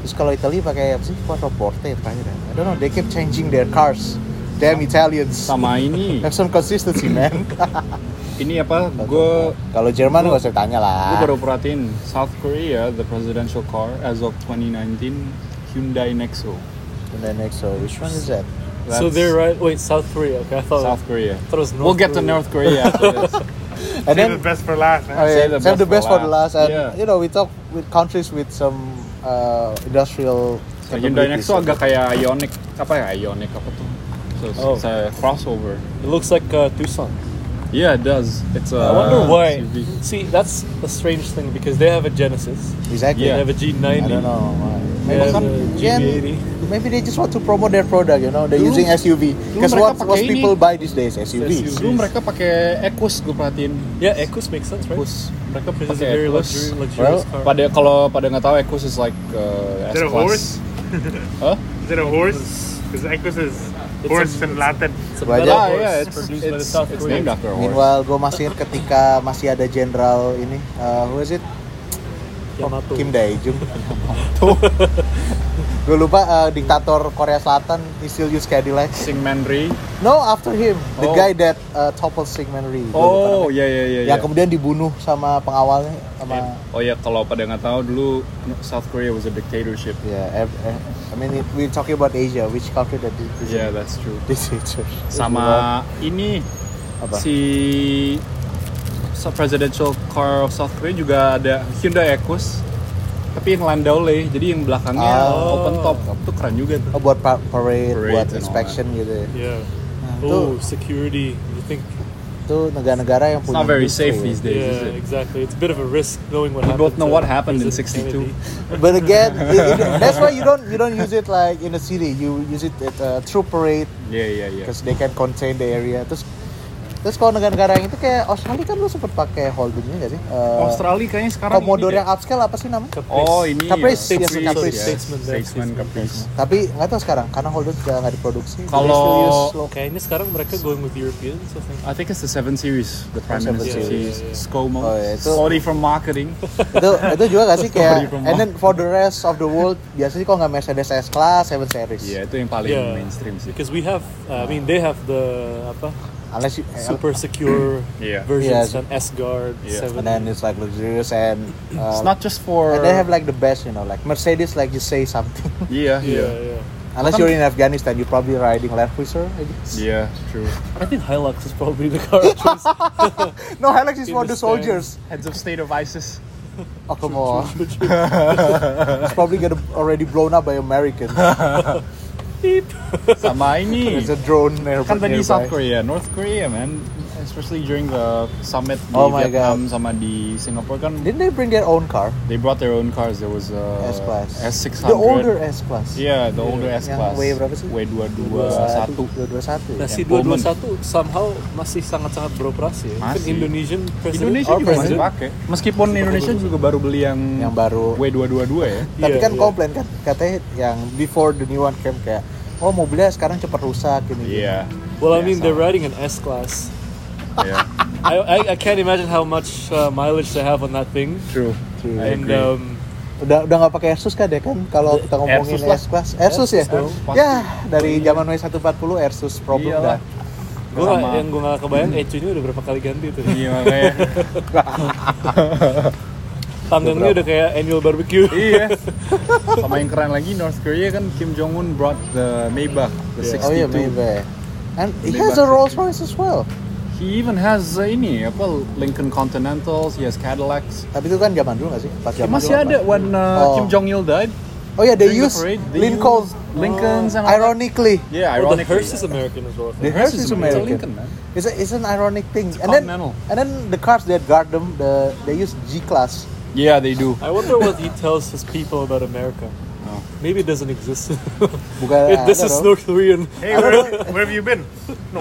Speaker 3: Terus kalau Italy pakai apa sih? Quattroporte terakhir ya. I don't know, they keep changing their cars. Damn Italians.
Speaker 1: Sama ini,
Speaker 3: Have some consistency, man.
Speaker 1: ini apa? Gue
Speaker 3: kalau Jerman nggak usah tanya
Speaker 1: Gue
Speaker 3: lah.
Speaker 1: baru perhatiin South Korea, the presidential car as of 2019 Hyundai Nexo.
Speaker 3: And then next, so which one is that?
Speaker 2: So
Speaker 1: That's
Speaker 2: they're right. Wait, South Korea. Okay, I thought.
Speaker 1: South Korea.
Speaker 2: Terus North
Speaker 1: we'll get to
Speaker 2: Korea.
Speaker 1: North Korea after this.
Speaker 4: Save
Speaker 3: And then
Speaker 4: the best for last, man.
Speaker 3: Oh, yeah.
Speaker 1: Save the
Speaker 3: Save the best for the last, and
Speaker 1: Yeah.
Speaker 3: you know we talk with countries with some uh, industrial.
Speaker 1: So Hyundai
Speaker 3: capabilities.
Speaker 1: Nexo agak kayak Ionic apa ya Ionic apa tuh? So also.
Speaker 2: Oh.
Speaker 1: It's a crossover.
Speaker 2: It looks like uh, Tucson.
Speaker 1: Yeah, it does. It's a.
Speaker 2: I wonder why.
Speaker 1: SUV.
Speaker 2: See, that's a strange thing because they have a Genesis.
Speaker 3: Exactly.
Speaker 2: They
Speaker 1: Yeah.
Speaker 2: have a G90.
Speaker 3: I don't know. why.
Speaker 2: They
Speaker 3: Maybe
Speaker 2: have
Speaker 3: kan
Speaker 2: a
Speaker 3: Gen,
Speaker 2: G80.
Speaker 3: maybe they just want to promote their product, you know. They're
Speaker 1: Dulu-
Speaker 3: using SUV.
Speaker 1: dulu
Speaker 3: Because
Speaker 1: mereka
Speaker 3: what what
Speaker 1: pakai ini.
Speaker 3: people buy these days SUVs.
Speaker 1: Dulu mereka pakai Equus gue perhatiin.
Speaker 2: Yeah, Ecos makes sense, right?
Speaker 1: Equus.
Speaker 2: Mereka punya
Speaker 1: Pakai
Speaker 2: very
Speaker 1: Ecos.
Speaker 2: luxury,
Speaker 1: Well,
Speaker 2: luxurious car.
Speaker 1: pada kalau pada nggak tahu Equus is like uh,
Speaker 4: Is it a horse?
Speaker 1: S-Class. Huh?
Speaker 4: Is it a horse? Because Equus is
Speaker 2: It's
Speaker 4: horse
Speaker 2: a-
Speaker 4: in Latin.
Speaker 2: It's a
Speaker 3: Wajah.
Speaker 2: metal
Speaker 1: Ah,
Speaker 2: horse
Speaker 1: yeah, it's,
Speaker 2: produced by the
Speaker 1: it's,
Speaker 2: South
Speaker 1: it's named
Speaker 2: Koreans.
Speaker 1: after a horse.
Speaker 3: Meanwhile, gue masih ketika masih ada jenderal ini, uh, who is it?
Speaker 2: Yamato.
Speaker 3: Kim Dae Jung. gue lupa uh, diktator Korea Selatan, he still use Cadillac.
Speaker 1: Sing Manri.
Speaker 3: No, after him, the
Speaker 1: Oh.
Speaker 3: guy that uh, toppled Syngman Rhee. Gua lupa
Speaker 1: Oh,
Speaker 3: namanya.
Speaker 1: ya ya ya.
Speaker 3: yang kemudian dibunuh sama pengawalnya sama
Speaker 1: Oh ya, kalau pada nggak tahu dulu South Korea was a dictatorship.
Speaker 3: yeah, ev- ev- I mean it- we're talking about Asia, which country that is is
Speaker 1: Yeah, Iya, that's true.
Speaker 3: this Asia?
Speaker 1: Sama ini
Speaker 3: Apa?
Speaker 1: si so- presidential car of South Korea juga ada Hyundai Equus tapi yang landaule jadi yang belakangnya
Speaker 3: Oh.
Speaker 1: open top itu keren juga tuh
Speaker 3: Oh, buat pa- parade,
Speaker 1: Parade
Speaker 3: buat
Speaker 1: and all
Speaker 3: inspection gitu. ya.
Speaker 1: Ah,
Speaker 2: Yeah.
Speaker 3: Nah, itu
Speaker 2: Oh, security. You think?
Speaker 3: itu negara-negara yang
Speaker 1: It's
Speaker 3: punya gitu.
Speaker 1: not very
Speaker 3: industri.
Speaker 1: safe these days is
Speaker 2: Yeah,
Speaker 1: it
Speaker 2: exactly. It's a bit of a risk knowing what
Speaker 1: We
Speaker 2: happened.
Speaker 1: both know
Speaker 2: to
Speaker 1: what happened in
Speaker 2: President
Speaker 1: 62.
Speaker 2: Kennedy.
Speaker 3: But again, it- it- that's why you don't you don't use it like in a city. You use it at a true parade
Speaker 1: yeah yeah yeah
Speaker 3: because they can contain the area. Terus terus kalau negara-negara yang itu kayak Australia kan lu sempet pakai holdingnya nggak sih? Eh,
Speaker 1: Australia kayaknya sekarang
Speaker 3: Commodore
Speaker 1: ini
Speaker 3: yang
Speaker 1: deh.
Speaker 3: upscale apa sih namanya?
Speaker 2: Caprice.
Speaker 1: oh ini
Speaker 3: Caprice,
Speaker 1: ya,
Speaker 3: yes, Caprice.
Speaker 1: ya.
Speaker 2: Statesman, yeah.
Speaker 1: Statesman, Caprice
Speaker 3: Tapi nggak tahu sekarang karena Holden sudah nggak diproduksi. They
Speaker 1: Kalau-
Speaker 3: still use local.
Speaker 2: Kayaknya sekarang mereka going with Europeans, I think.
Speaker 1: I think it's the 7 series the prime
Speaker 3: Seven
Speaker 1: minister
Speaker 2: series.
Speaker 1: series
Speaker 2: Yeah, yeah, yeah.
Speaker 1: ScoMo
Speaker 3: Oh, ya, itu-
Speaker 1: sorry for marketing
Speaker 3: itu itu juga nggak sih
Speaker 1: Sorry
Speaker 3: kayak
Speaker 1: for
Speaker 3: and then for the rest of the world biasanya kok nggak Mercedes S Class, 7 Series.
Speaker 1: Iya, itu yang paling
Speaker 2: Yeah.
Speaker 1: mainstream sih
Speaker 2: Because we have, uh, I mean, they have the apa,
Speaker 3: Unless you, eh,
Speaker 2: super secure
Speaker 1: Yeah.
Speaker 2: versions
Speaker 3: Yeah.
Speaker 2: and S guard
Speaker 1: Yeah.
Speaker 2: seven.
Speaker 3: and then it's like luxurious and uh,
Speaker 1: it's not just for
Speaker 3: and they have like the best you know like Mercedes like you say something.
Speaker 1: yeah
Speaker 2: yeah,
Speaker 1: yeah
Speaker 2: yeah.
Speaker 3: Unless you're in Afghanistan, you're probably riding Land Cruiser. I guess.
Speaker 1: yeah true
Speaker 2: I think Hilux is probably the car of choice.
Speaker 3: No, Hilux is
Speaker 2: In
Speaker 3: for
Speaker 2: the
Speaker 3: the soldiers.
Speaker 1: heads of state of ISIS
Speaker 3: Oh come on. it's probably gonna already blown up by Americans.
Speaker 2: Beep.
Speaker 1: sama ini
Speaker 3: There's a drone near-
Speaker 1: kan tadi
Speaker 3: nearby.
Speaker 1: South Korea, North Korea man, especially during the summit di
Speaker 3: Oh my
Speaker 1: Vietnam sama di Singapore kan,
Speaker 3: Didn't they bring their own car?
Speaker 1: they brought their own cars. There was uh, a
Speaker 3: S Class.
Speaker 1: S600.
Speaker 3: The older S Class.
Speaker 1: Yeah, the older S
Speaker 3: Yang
Speaker 1: class.
Speaker 3: W berapa sih?
Speaker 1: W221.
Speaker 3: 221.
Speaker 2: Nah,
Speaker 3: ya?
Speaker 2: si
Speaker 1: Yang Pullman.
Speaker 2: 221 somehow masih sangat-sangat beroperasi ya. Even
Speaker 1: Masih.
Speaker 2: Indonesian president.
Speaker 1: Indonesia
Speaker 2: our
Speaker 1: juga masih
Speaker 2: president.
Speaker 1: pakai. Meskipun Indonesia juga baru beli yang
Speaker 3: Yang baru.
Speaker 1: W222 ya.
Speaker 3: Tapi
Speaker 2: Iya,
Speaker 3: kan
Speaker 2: iya.
Speaker 3: komplain kan katanya yang before the new one came kayak oh mobilnya sekarang cepat rusak gini.
Speaker 1: Iya.
Speaker 2: Well, I
Speaker 1: Iya,
Speaker 2: mean,
Speaker 1: sama.
Speaker 2: they're riding an S class.
Speaker 1: Iya.
Speaker 2: I, I, I can't imagine how much uh, mileage they have on that thing.
Speaker 1: True. True. I
Speaker 2: And
Speaker 1: agree.
Speaker 2: um,
Speaker 3: Udah udah nggak pakai Airsus kan deh kan kalau kita ngomongin
Speaker 1: Airsus Iya, lah.
Speaker 3: S class. Airsus ya.
Speaker 2: Airsus dong.
Speaker 3: Ya, dari zaman W140 Airsus problem
Speaker 1: Iyalah.
Speaker 3: dah.
Speaker 2: gua
Speaker 1: Sama. Hmm.
Speaker 2: yang gue gak kebayang ECU-nya udah berapa kali ganti tuh.
Speaker 1: Iya makanya.
Speaker 2: Panggangnya udah kayak annual barbecue.
Speaker 1: iya. Sama yang keren lagi North Korea kan Kim Jong Un brought the Maybach, the 62.
Speaker 2: Iya.
Speaker 3: Oh iya Maybach. And he
Speaker 1: Maybach
Speaker 3: has a Rolls Royce as well.
Speaker 1: He even has uh, ini apa Lincoln Continentals, he has Cadillacs.
Speaker 3: Tapi itu kan zaman dulu nggak sih? Pas
Speaker 1: Ya,
Speaker 3: zaman
Speaker 1: masih
Speaker 3: dulu
Speaker 1: ada
Speaker 3: apa?
Speaker 1: when uh,
Speaker 3: Oh.
Speaker 1: Kim Jong Il died.
Speaker 3: Oh iya, they
Speaker 1: during the
Speaker 3: use uh,
Speaker 1: parade, they
Speaker 3: Lincoln.
Speaker 1: use Iya, Lincolns and all that.
Speaker 3: Ironically,
Speaker 1: Yeah,
Speaker 2: Well, the
Speaker 1: ironically.
Speaker 2: Hearst is American as well. I
Speaker 3: The
Speaker 2: think.
Speaker 3: Hearst is
Speaker 1: American.
Speaker 3: American.
Speaker 1: It's a Lincoln, man.
Speaker 3: It's, a, it's an ironic thing.
Speaker 1: It's a
Speaker 3: and then
Speaker 1: continental.
Speaker 3: and then the cars that guard them, the they use G class.
Speaker 1: Yeah, they do.
Speaker 2: I wonder what he tells his people about America.
Speaker 1: Oh.
Speaker 2: Maybe it doesn't exist.
Speaker 1: Uh,
Speaker 3: Bukan.
Speaker 2: If this
Speaker 3: I don't
Speaker 2: is
Speaker 3: know.
Speaker 2: North Korean.
Speaker 4: Hey, where, where have you been?
Speaker 2: No,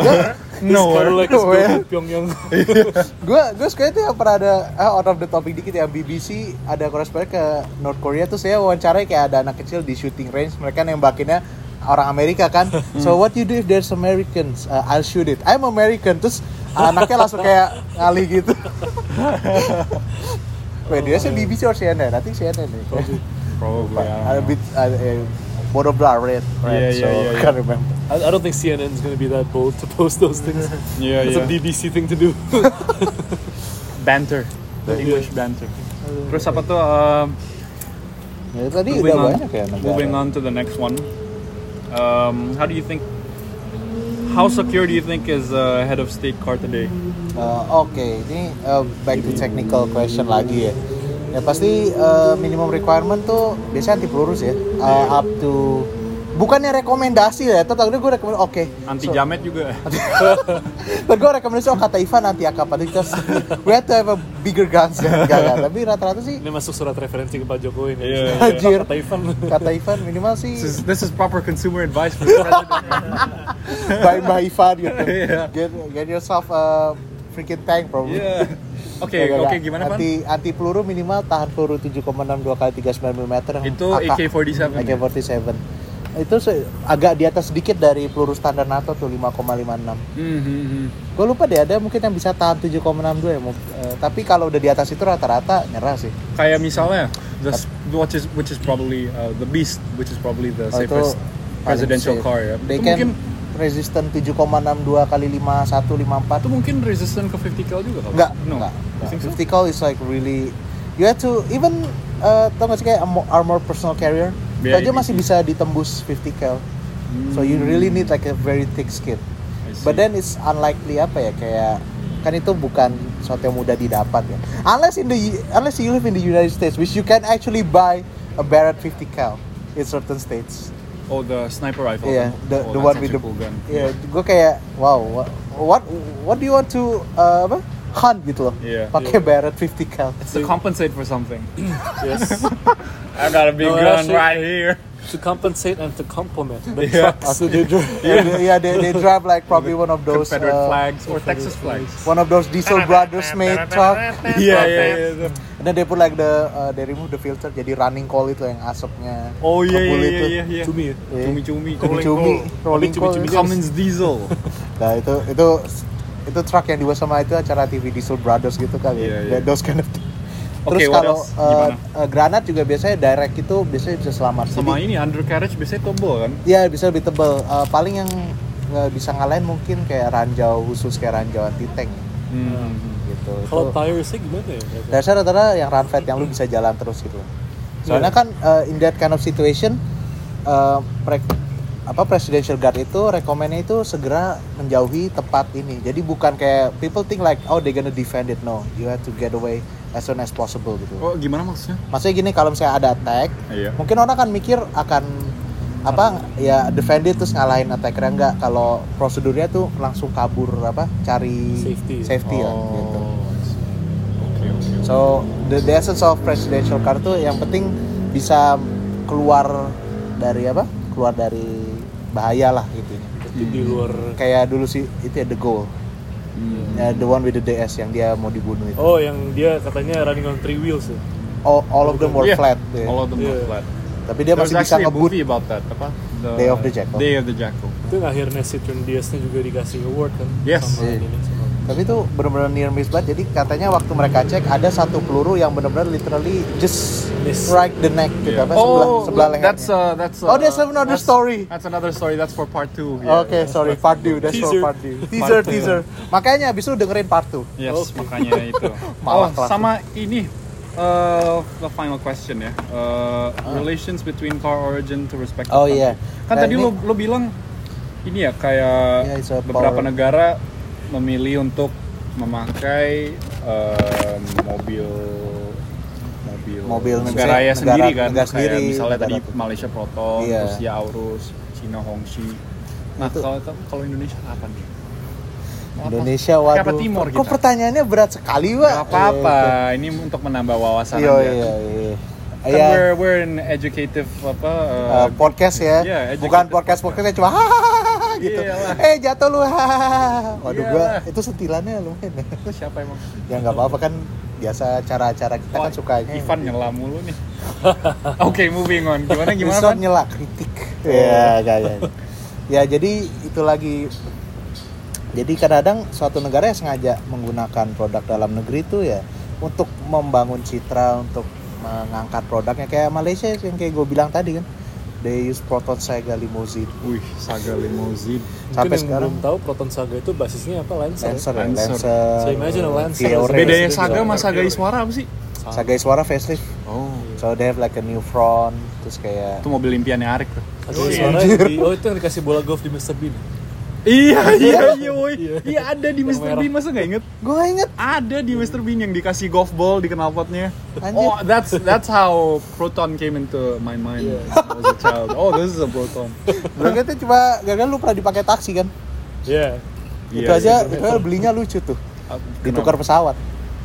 Speaker 1: Nowhere.
Speaker 2: Cadillac is built
Speaker 3: Nowhere.
Speaker 2: in Pyongyang.
Speaker 3: Gue gue suka itu yang pernah ada ah, out of the topic dikit ya BBC ada koresponden ke North Korea tuh saya wawancarai kayak ada anak kecil di shooting range mereka nembakinnya orang Amerika kan. so what you do if there's Americans? Uh, I'll shoot it. I'm American. Terus anaknya langsung kayak ngalih gitu. Wait, dia sih BBC or CNN? I think CNN nih.
Speaker 1: Probably.
Speaker 3: a bit uh, uh, border blur red,
Speaker 1: Yeah,
Speaker 3: red so
Speaker 1: yeah, yeah,
Speaker 3: can't remember.
Speaker 2: I, I don't think CNN is going to be that bold to post those things.
Speaker 1: Yeah,
Speaker 2: That's
Speaker 1: yeah.
Speaker 2: a BBC thing to do.
Speaker 1: banter. The English banter. Terus apa tuh? um,
Speaker 3: Ya, tadi
Speaker 1: moving
Speaker 3: udah
Speaker 1: on,
Speaker 3: banyak ya negara.
Speaker 1: moving on to the next one. Um, how do you think? How secure do you think is uh, head of state car today?
Speaker 3: Uh, Oke, ini uh, back to technical question lagi ya.
Speaker 1: Iya.
Speaker 3: Ya pasti uh, minimum requirement tuh biasanya anti peluru sih ya. Uh, up to bukannya rekomendasi ya tetap gue rekomendasi oke
Speaker 1: Anti
Speaker 3: So-
Speaker 1: jamet juga.
Speaker 3: Dan gue rekomendasi oh kata Ivan nanti akan pada kita we have to have a bigger guns ya. Enggak, enggak. tapi rata-rata sih
Speaker 2: Ini masuk surat referensi ke Pak Jokowi nih.
Speaker 1: Iya.
Speaker 3: Anjir.
Speaker 2: Kata Ivan.
Speaker 3: kata Ivan minimal sih
Speaker 1: This is, this is proper consumer advice for the president.
Speaker 3: by by Ivan gitu
Speaker 1: Iya.
Speaker 3: get, get yourself a freaking tank probably
Speaker 1: Yeah. Oke,
Speaker 3: Enggak,
Speaker 1: oke
Speaker 3: enggak.
Speaker 1: gimana, Pan?
Speaker 3: anti, anti peluru minimal tahan peluru 7,62 kali 39 mm yang
Speaker 1: Itu
Speaker 3: AK.
Speaker 1: AK-47.
Speaker 3: AK-47 itu se- agak di atas sedikit dari peluru standar NATO tuh 5,56
Speaker 1: Hmm, hmm, hmm.
Speaker 3: gue lupa deh ada mungkin yang bisa tahan 7,62 ya mu- eh, tapi kalau udah di atas itu rata-rata nyerah sih
Speaker 1: Kayak misalnya the s- which is which is probably uh, the beast which is probably the
Speaker 3: Oh, itu
Speaker 1: safest
Speaker 3: paling
Speaker 1: presidential
Speaker 3: safe.
Speaker 1: car ya.
Speaker 3: They
Speaker 1: Itu
Speaker 3: can
Speaker 1: mungkin
Speaker 3: resistant 7,62 kali 51
Speaker 1: itu
Speaker 3: 54
Speaker 1: mungkin resistant ke 50 cal juga kalau.
Speaker 3: enggak
Speaker 1: No.
Speaker 3: enggak
Speaker 1: You think so?
Speaker 3: 50 cal is like really you have to even eh tau gak sih kayak armor, armor personal carrier itu
Speaker 1: Yeah,
Speaker 3: aja
Speaker 1: it-
Speaker 3: masih
Speaker 1: it-
Speaker 3: bisa ditembus 50 cal so you really need like a very thick skin
Speaker 1: Hmm. I see.
Speaker 3: but then it's unlikely apa ya kayak kan itu bukan sesuatu yang mudah didapat ya unless in the unless you live in the United States which you can actually buy a Barrett 50 cal in certain states
Speaker 1: Oh, the sniper rifle.
Speaker 3: Iya, the,
Speaker 1: Oh, that's
Speaker 3: the one
Speaker 1: such
Speaker 3: with
Speaker 1: a
Speaker 3: the
Speaker 1: cool gun.
Speaker 3: Iya, gue kayak wow, wha- what what do you want to uh, apa? Hunt gitu loh.
Speaker 1: Iya.
Speaker 3: Pakai Barrett 50 cal.
Speaker 1: It's to compensate for something.
Speaker 2: Yes.
Speaker 1: I got a big
Speaker 2: No,
Speaker 1: gun
Speaker 2: actually-
Speaker 1: right here.
Speaker 2: to compensate and to complement the
Speaker 1: Yeah.
Speaker 2: trucks.
Speaker 3: After they drive, yeah, they, yeah, they, they drive like probably one of those
Speaker 1: Iya. Confederate
Speaker 3: uh,
Speaker 1: flags or Texas flags.
Speaker 3: one of those Diesel Brothers made truck.
Speaker 1: Yeah, yeah,
Speaker 3: iya,
Speaker 1: yeah. the-
Speaker 3: And then they put like the uh, they remove the filter jadi running coal itu yang asapnya.
Speaker 1: Oh yeah, yeah,
Speaker 3: kebuli
Speaker 1: yeah,
Speaker 3: itu.
Speaker 1: yeah, yeah.
Speaker 2: Cumi ya?
Speaker 3: Iya.
Speaker 1: Cumi-cumi.
Speaker 3: Cumi-cumi, rolling coal.
Speaker 2: cumi-cumi kan-
Speaker 1: Cummins diesel.
Speaker 3: Nah itu itu itu truck yang dibuat sama itu acara TV Diesel Brothers gitu kali.
Speaker 1: Iya,
Speaker 3: ya.
Speaker 1: iya.
Speaker 3: Those kind of thing.
Speaker 1: Oke,
Speaker 3: Terus
Speaker 1: what
Speaker 3: kalau
Speaker 1: else?
Speaker 3: uh,
Speaker 1: Gimana?
Speaker 3: uh, granat juga biasanya direct itu biasanya bisa selamat.
Speaker 1: Sama
Speaker 3: Jadi-
Speaker 1: ini undercarriage biasanya tebal kan?
Speaker 3: Iya bisa lebih tebel. Eh, paling yang nggak bisa ngalahin mungkin kayak ranjau khusus kayak ranjau anti tank
Speaker 1: Hmm.
Speaker 3: gitu.
Speaker 2: Kalau
Speaker 3: itu,
Speaker 2: tire sih gimana ya?
Speaker 3: dasar rata-rata yang run flat yang lu bisa jalan terus gitu. loh. Soalnya
Speaker 1: Iya.
Speaker 3: kan eh, in that kind of situation eh, pre- apa presidential guard itu rekomennya itu segera menjauhi tempat ini. Jadi bukan kayak people think like oh they gonna defend it. No, you have to get away as soon as possible gitu.
Speaker 1: Oh, gimana maksudnya?
Speaker 3: Maksudnya gini kalau misalnya ada attack,
Speaker 1: Iya.
Speaker 3: mungkin orang akan mikir akan apa ya defend it terus ngalahin attackernya enggak kalau prosedurnya tuh langsung kabur apa cari
Speaker 2: Safety.
Speaker 3: ya
Speaker 1: Oh,
Speaker 3: gitu.
Speaker 1: I see. Oke, oke. oke.
Speaker 3: So the, the essence of presidential car tuh yang penting bisa keluar dari apa? Keluar dari bahaya lah gitu.
Speaker 2: Tapi di luar
Speaker 3: Kayak dulu sih itu ya the goal. Ya,
Speaker 1: Iya.
Speaker 3: the one with the DS yang dia mau dibunuh itu.
Speaker 2: Oh, yang dia katanya running on three wheels ya.
Speaker 3: All, all of them were
Speaker 1: Yeah,
Speaker 3: flat.
Speaker 1: Iya.
Speaker 3: ya.
Speaker 1: All of them were
Speaker 2: Yeah.
Speaker 1: flat.
Speaker 3: Tapi dia
Speaker 1: There's
Speaker 3: masih bisa
Speaker 1: actually a
Speaker 3: ngebut.
Speaker 1: movie about that. Apa? The
Speaker 3: Day of the Jackal.
Speaker 1: Day of the Jackal.
Speaker 2: Itu yang akhirnya Citroen Diaz-nya juga dikasih award kan
Speaker 1: Yes.
Speaker 2: sama
Speaker 3: Iya.
Speaker 2: ini sama
Speaker 3: tapi itu benar-benar near miss banget jadi katanya waktu mereka cek ada satu peluru yang benar-benar literally just
Speaker 2: Miss.
Speaker 3: right the neck gitu
Speaker 1: Yeah.
Speaker 3: apa sebelah sebelah lehernya
Speaker 1: Iya. that's uh, that's uh,
Speaker 3: Oh, there's another
Speaker 1: that's-
Speaker 3: story.
Speaker 1: That's another story. Oh, That's for part two.
Speaker 3: Oke,
Speaker 1: Yeah, yeah.
Speaker 3: sorry, part two. That's for
Speaker 2: Teaser.
Speaker 3: part two. Teaser,
Speaker 1: two.
Speaker 3: teaser. Makanya abis itu dengerin part two.
Speaker 1: Yes, makanya itu. oh,
Speaker 3: Malah kelas.
Speaker 1: sama ini eh the final question ya. Eh, Relations between car origin to respective
Speaker 3: Ah. Oh,
Speaker 1: country.
Speaker 3: iya.
Speaker 1: Kan
Speaker 3: Nah,
Speaker 1: tadi
Speaker 3: ini-
Speaker 1: lo lo bilang ini ya kayak
Speaker 3: Yeah, it's a
Speaker 1: beberapa
Speaker 3: power.
Speaker 1: negara memilih untuk memakai em, mobil mobil
Speaker 3: Mobil
Speaker 1: negara
Speaker 3: negara-
Speaker 1: ya sendiri kan
Speaker 3: negara
Speaker 1: kayak
Speaker 3: sendiri,
Speaker 1: misalnya tadi
Speaker 3: negara-
Speaker 1: Malaysia Proton
Speaker 3: Iya.
Speaker 1: terus Yaurus Cina Hongxi nah
Speaker 3: Itu-
Speaker 1: kalau kalau Indonesia apa nih Apa?
Speaker 3: Indonesia
Speaker 1: Kayak apa
Speaker 3: waduh.
Speaker 1: timur
Speaker 3: Kok
Speaker 1: kita?
Speaker 3: pertanyaannya berat sekali, Wak?
Speaker 1: Gak apa-apa, ini untuk menambah wawasan
Speaker 3: Iya,
Speaker 1: aja.
Speaker 3: iya, iya.
Speaker 1: Kan
Speaker 3: Iya,
Speaker 1: we're, we're an educative apa uh,
Speaker 3: eh, podcast ya.
Speaker 1: Iya,
Speaker 3: Bukan
Speaker 1: educated
Speaker 3: podcast podcastnya cuma hahaha gitu.
Speaker 1: Iyalah.
Speaker 3: Eh, jatuh lu. hahaha. Waduh, gua
Speaker 1: Iyalah.
Speaker 3: itu sentilannya lumayan. ya.
Speaker 1: itu gitu, siapa emang?
Speaker 3: ya nggak apa-apa kan biasa acara-acara kita kan
Speaker 1: Oh,
Speaker 3: sukanya
Speaker 1: Ivan nyela mulu nih. Oke, moving on. Gimana gimana? Pan?
Speaker 3: Wilson nyela kritik
Speaker 2: Oh.
Speaker 3: ya gak, gak. ya jadi itu lagi jadi kadang-kadang suatu negara yang sengaja menggunakan produk dalam negeri itu ya untuk membangun citra untuk mengangkat produknya kayak Malaysia yang kayak gue bilang tadi kan they use proton Saiga limousine
Speaker 1: Wih, Saga Limousine.
Speaker 2: Mungkin
Speaker 3: sampai
Speaker 2: yang
Speaker 3: sekarang
Speaker 2: belum tahu Proton Saga itu basisnya apa Lancer.
Speaker 3: Lancer ya,
Speaker 1: Lancer.
Speaker 3: Lancer
Speaker 2: So imagine a Lancer.
Speaker 3: Fiore.
Speaker 1: Bedanya
Speaker 2: Lancer.
Speaker 1: Saga sama Saga Iswara apa sih?
Speaker 3: Saga Iswara facelift
Speaker 1: Oh,
Speaker 3: so they have like a new front terus kayak
Speaker 1: itu mobil impiannya Arik tuh.
Speaker 2: Ada suara yang di- oh itu yang dikasih bola golf di Mr Bean.
Speaker 1: Iya, iya, iya, woi. Iya ada di
Speaker 2: Yang
Speaker 1: Mr. Bean masa nggak inget?
Speaker 3: Gue inget
Speaker 1: Ada di Mr. Bean yang dikasih golf ball di knalpotnya.
Speaker 3: Anjir.
Speaker 1: Oh, that's that's how proton came into my mind
Speaker 3: Iya.
Speaker 2: Yeah.
Speaker 1: as a child. Oh, this is a proton.
Speaker 3: Berarti cuma gagal lu pernah dipakai taksi kan?
Speaker 2: Yeah.
Speaker 1: Iya,
Speaker 3: itu aja itu aja belinya lucu tuh. Ditukar pesawat.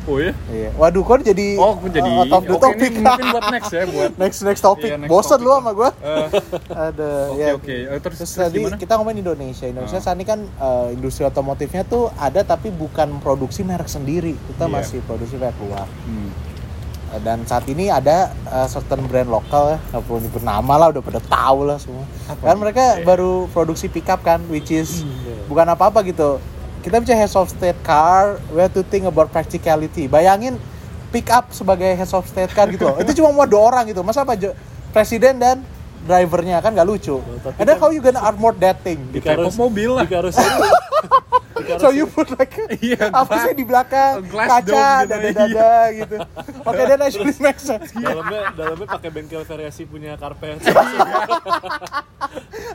Speaker 1: Oh ya?
Speaker 3: Iya. Waduh, kok jadi
Speaker 1: Oh, aku jadi.
Speaker 3: out of the
Speaker 1: Oke, ini
Speaker 3: topic.
Speaker 1: mungkin buat next ya, buat.
Speaker 3: next next topic.
Speaker 1: Iya, next
Speaker 3: Bosan
Speaker 1: topic.
Speaker 3: lu sama gua.
Speaker 1: Eh,
Speaker 3: Ada
Speaker 1: Oke,
Speaker 3: ya.
Speaker 1: oke. Eh, Terus, terus
Speaker 3: Terus tadi
Speaker 1: gimana?
Speaker 3: kita ngomongin Indonesia. Indonesia
Speaker 1: Ah.
Speaker 3: saat ini kan eh, industri otomotifnya tuh ada tapi bukan produksi merek sendiri. Kita
Speaker 1: Iya.
Speaker 3: masih produksi merek luar.
Speaker 1: Hmm.
Speaker 3: Eh, Dan saat ini ada eh, certain brand lokal ya, nggak perlu nyebut nama lah, udah pada tahu lah semua. kan mereka
Speaker 1: Iya.
Speaker 3: baru produksi pickup kan, which is
Speaker 1: Hmm,
Speaker 3: bukan apa-apa gitu. Kita bicara heads of state car, we have to think about practicality. Bayangin pick up sebagai heads of state car gitu loh. Itu cuma mau dua orang gitu. Masa apa Jo- presiden dan drivernya kan nggak
Speaker 1: Oh,
Speaker 3: lucu.
Speaker 2: tapi
Speaker 3: And then
Speaker 2: kan-
Speaker 3: how you gonna armor that thing?
Speaker 1: Di K-pop mobil lah.
Speaker 3: So you put like
Speaker 1: Iya,
Speaker 3: apa
Speaker 1: glass-
Speaker 3: sih di belakang
Speaker 1: glass
Speaker 3: kaca
Speaker 1: dome gitu,
Speaker 3: dada dada gitu. Oke, okay, then actually makes sense.
Speaker 2: dalamnya dalamnya pakai bengkel variasi punya karpet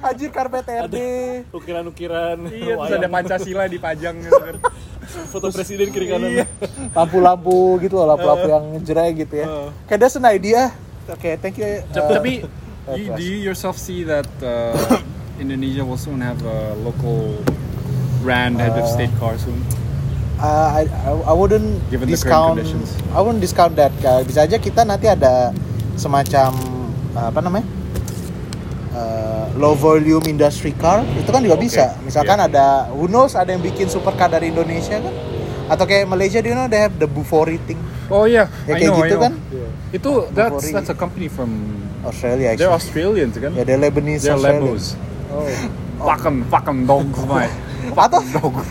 Speaker 3: Anjir karpet RD.
Speaker 2: ukiran-ukiran
Speaker 1: Iya, terus
Speaker 2: wayang.
Speaker 1: ada Pancasila dipajang gitu kan.
Speaker 2: foto presiden kiri kanan
Speaker 1: Iya.
Speaker 3: Lampu-lampu gitu loh, lampu-lampu yang jerai gitu ya.
Speaker 1: Uh.
Speaker 3: Kayak that's an idea. Oke, thank you.
Speaker 1: Tapi-
Speaker 3: uh,
Speaker 1: Tapi
Speaker 3: eh,
Speaker 1: you-
Speaker 3: kelas.
Speaker 1: do you yourself see that uh, Indonesia will soon have a local brand head of
Speaker 3: Uh,
Speaker 1: state car soon?
Speaker 3: uh, I, I- I wouldn't
Speaker 1: Given the current
Speaker 3: discount
Speaker 1: conditions.
Speaker 3: I wouldn't discount that guys. Bisa aja kita nanti ada semacam uh, apa namanya? Uh, low volume industry car itu kan juga
Speaker 1: Oke,
Speaker 3: bisa. Misalkan
Speaker 1: iya.
Speaker 3: ada who knows ada yang bikin supercar dari Indonesia kan? Atau kayak Malaysia do you know they have the Bufori thing
Speaker 1: Oh yeah,
Speaker 3: Ya,
Speaker 1: I
Speaker 3: kayak
Speaker 1: know, I
Speaker 3: gitu
Speaker 1: know.
Speaker 3: kan?
Speaker 1: Itu that's
Speaker 3: Before
Speaker 1: that's a company from
Speaker 3: Australia
Speaker 1: they're
Speaker 3: actually.
Speaker 1: Australians kan?
Speaker 3: Ya they're Lebanese
Speaker 1: They're
Speaker 3: Australia.
Speaker 1: Lebos.
Speaker 3: Oh.
Speaker 1: Fuck 'em, fuck 'em dogs, mate.
Speaker 3: Atau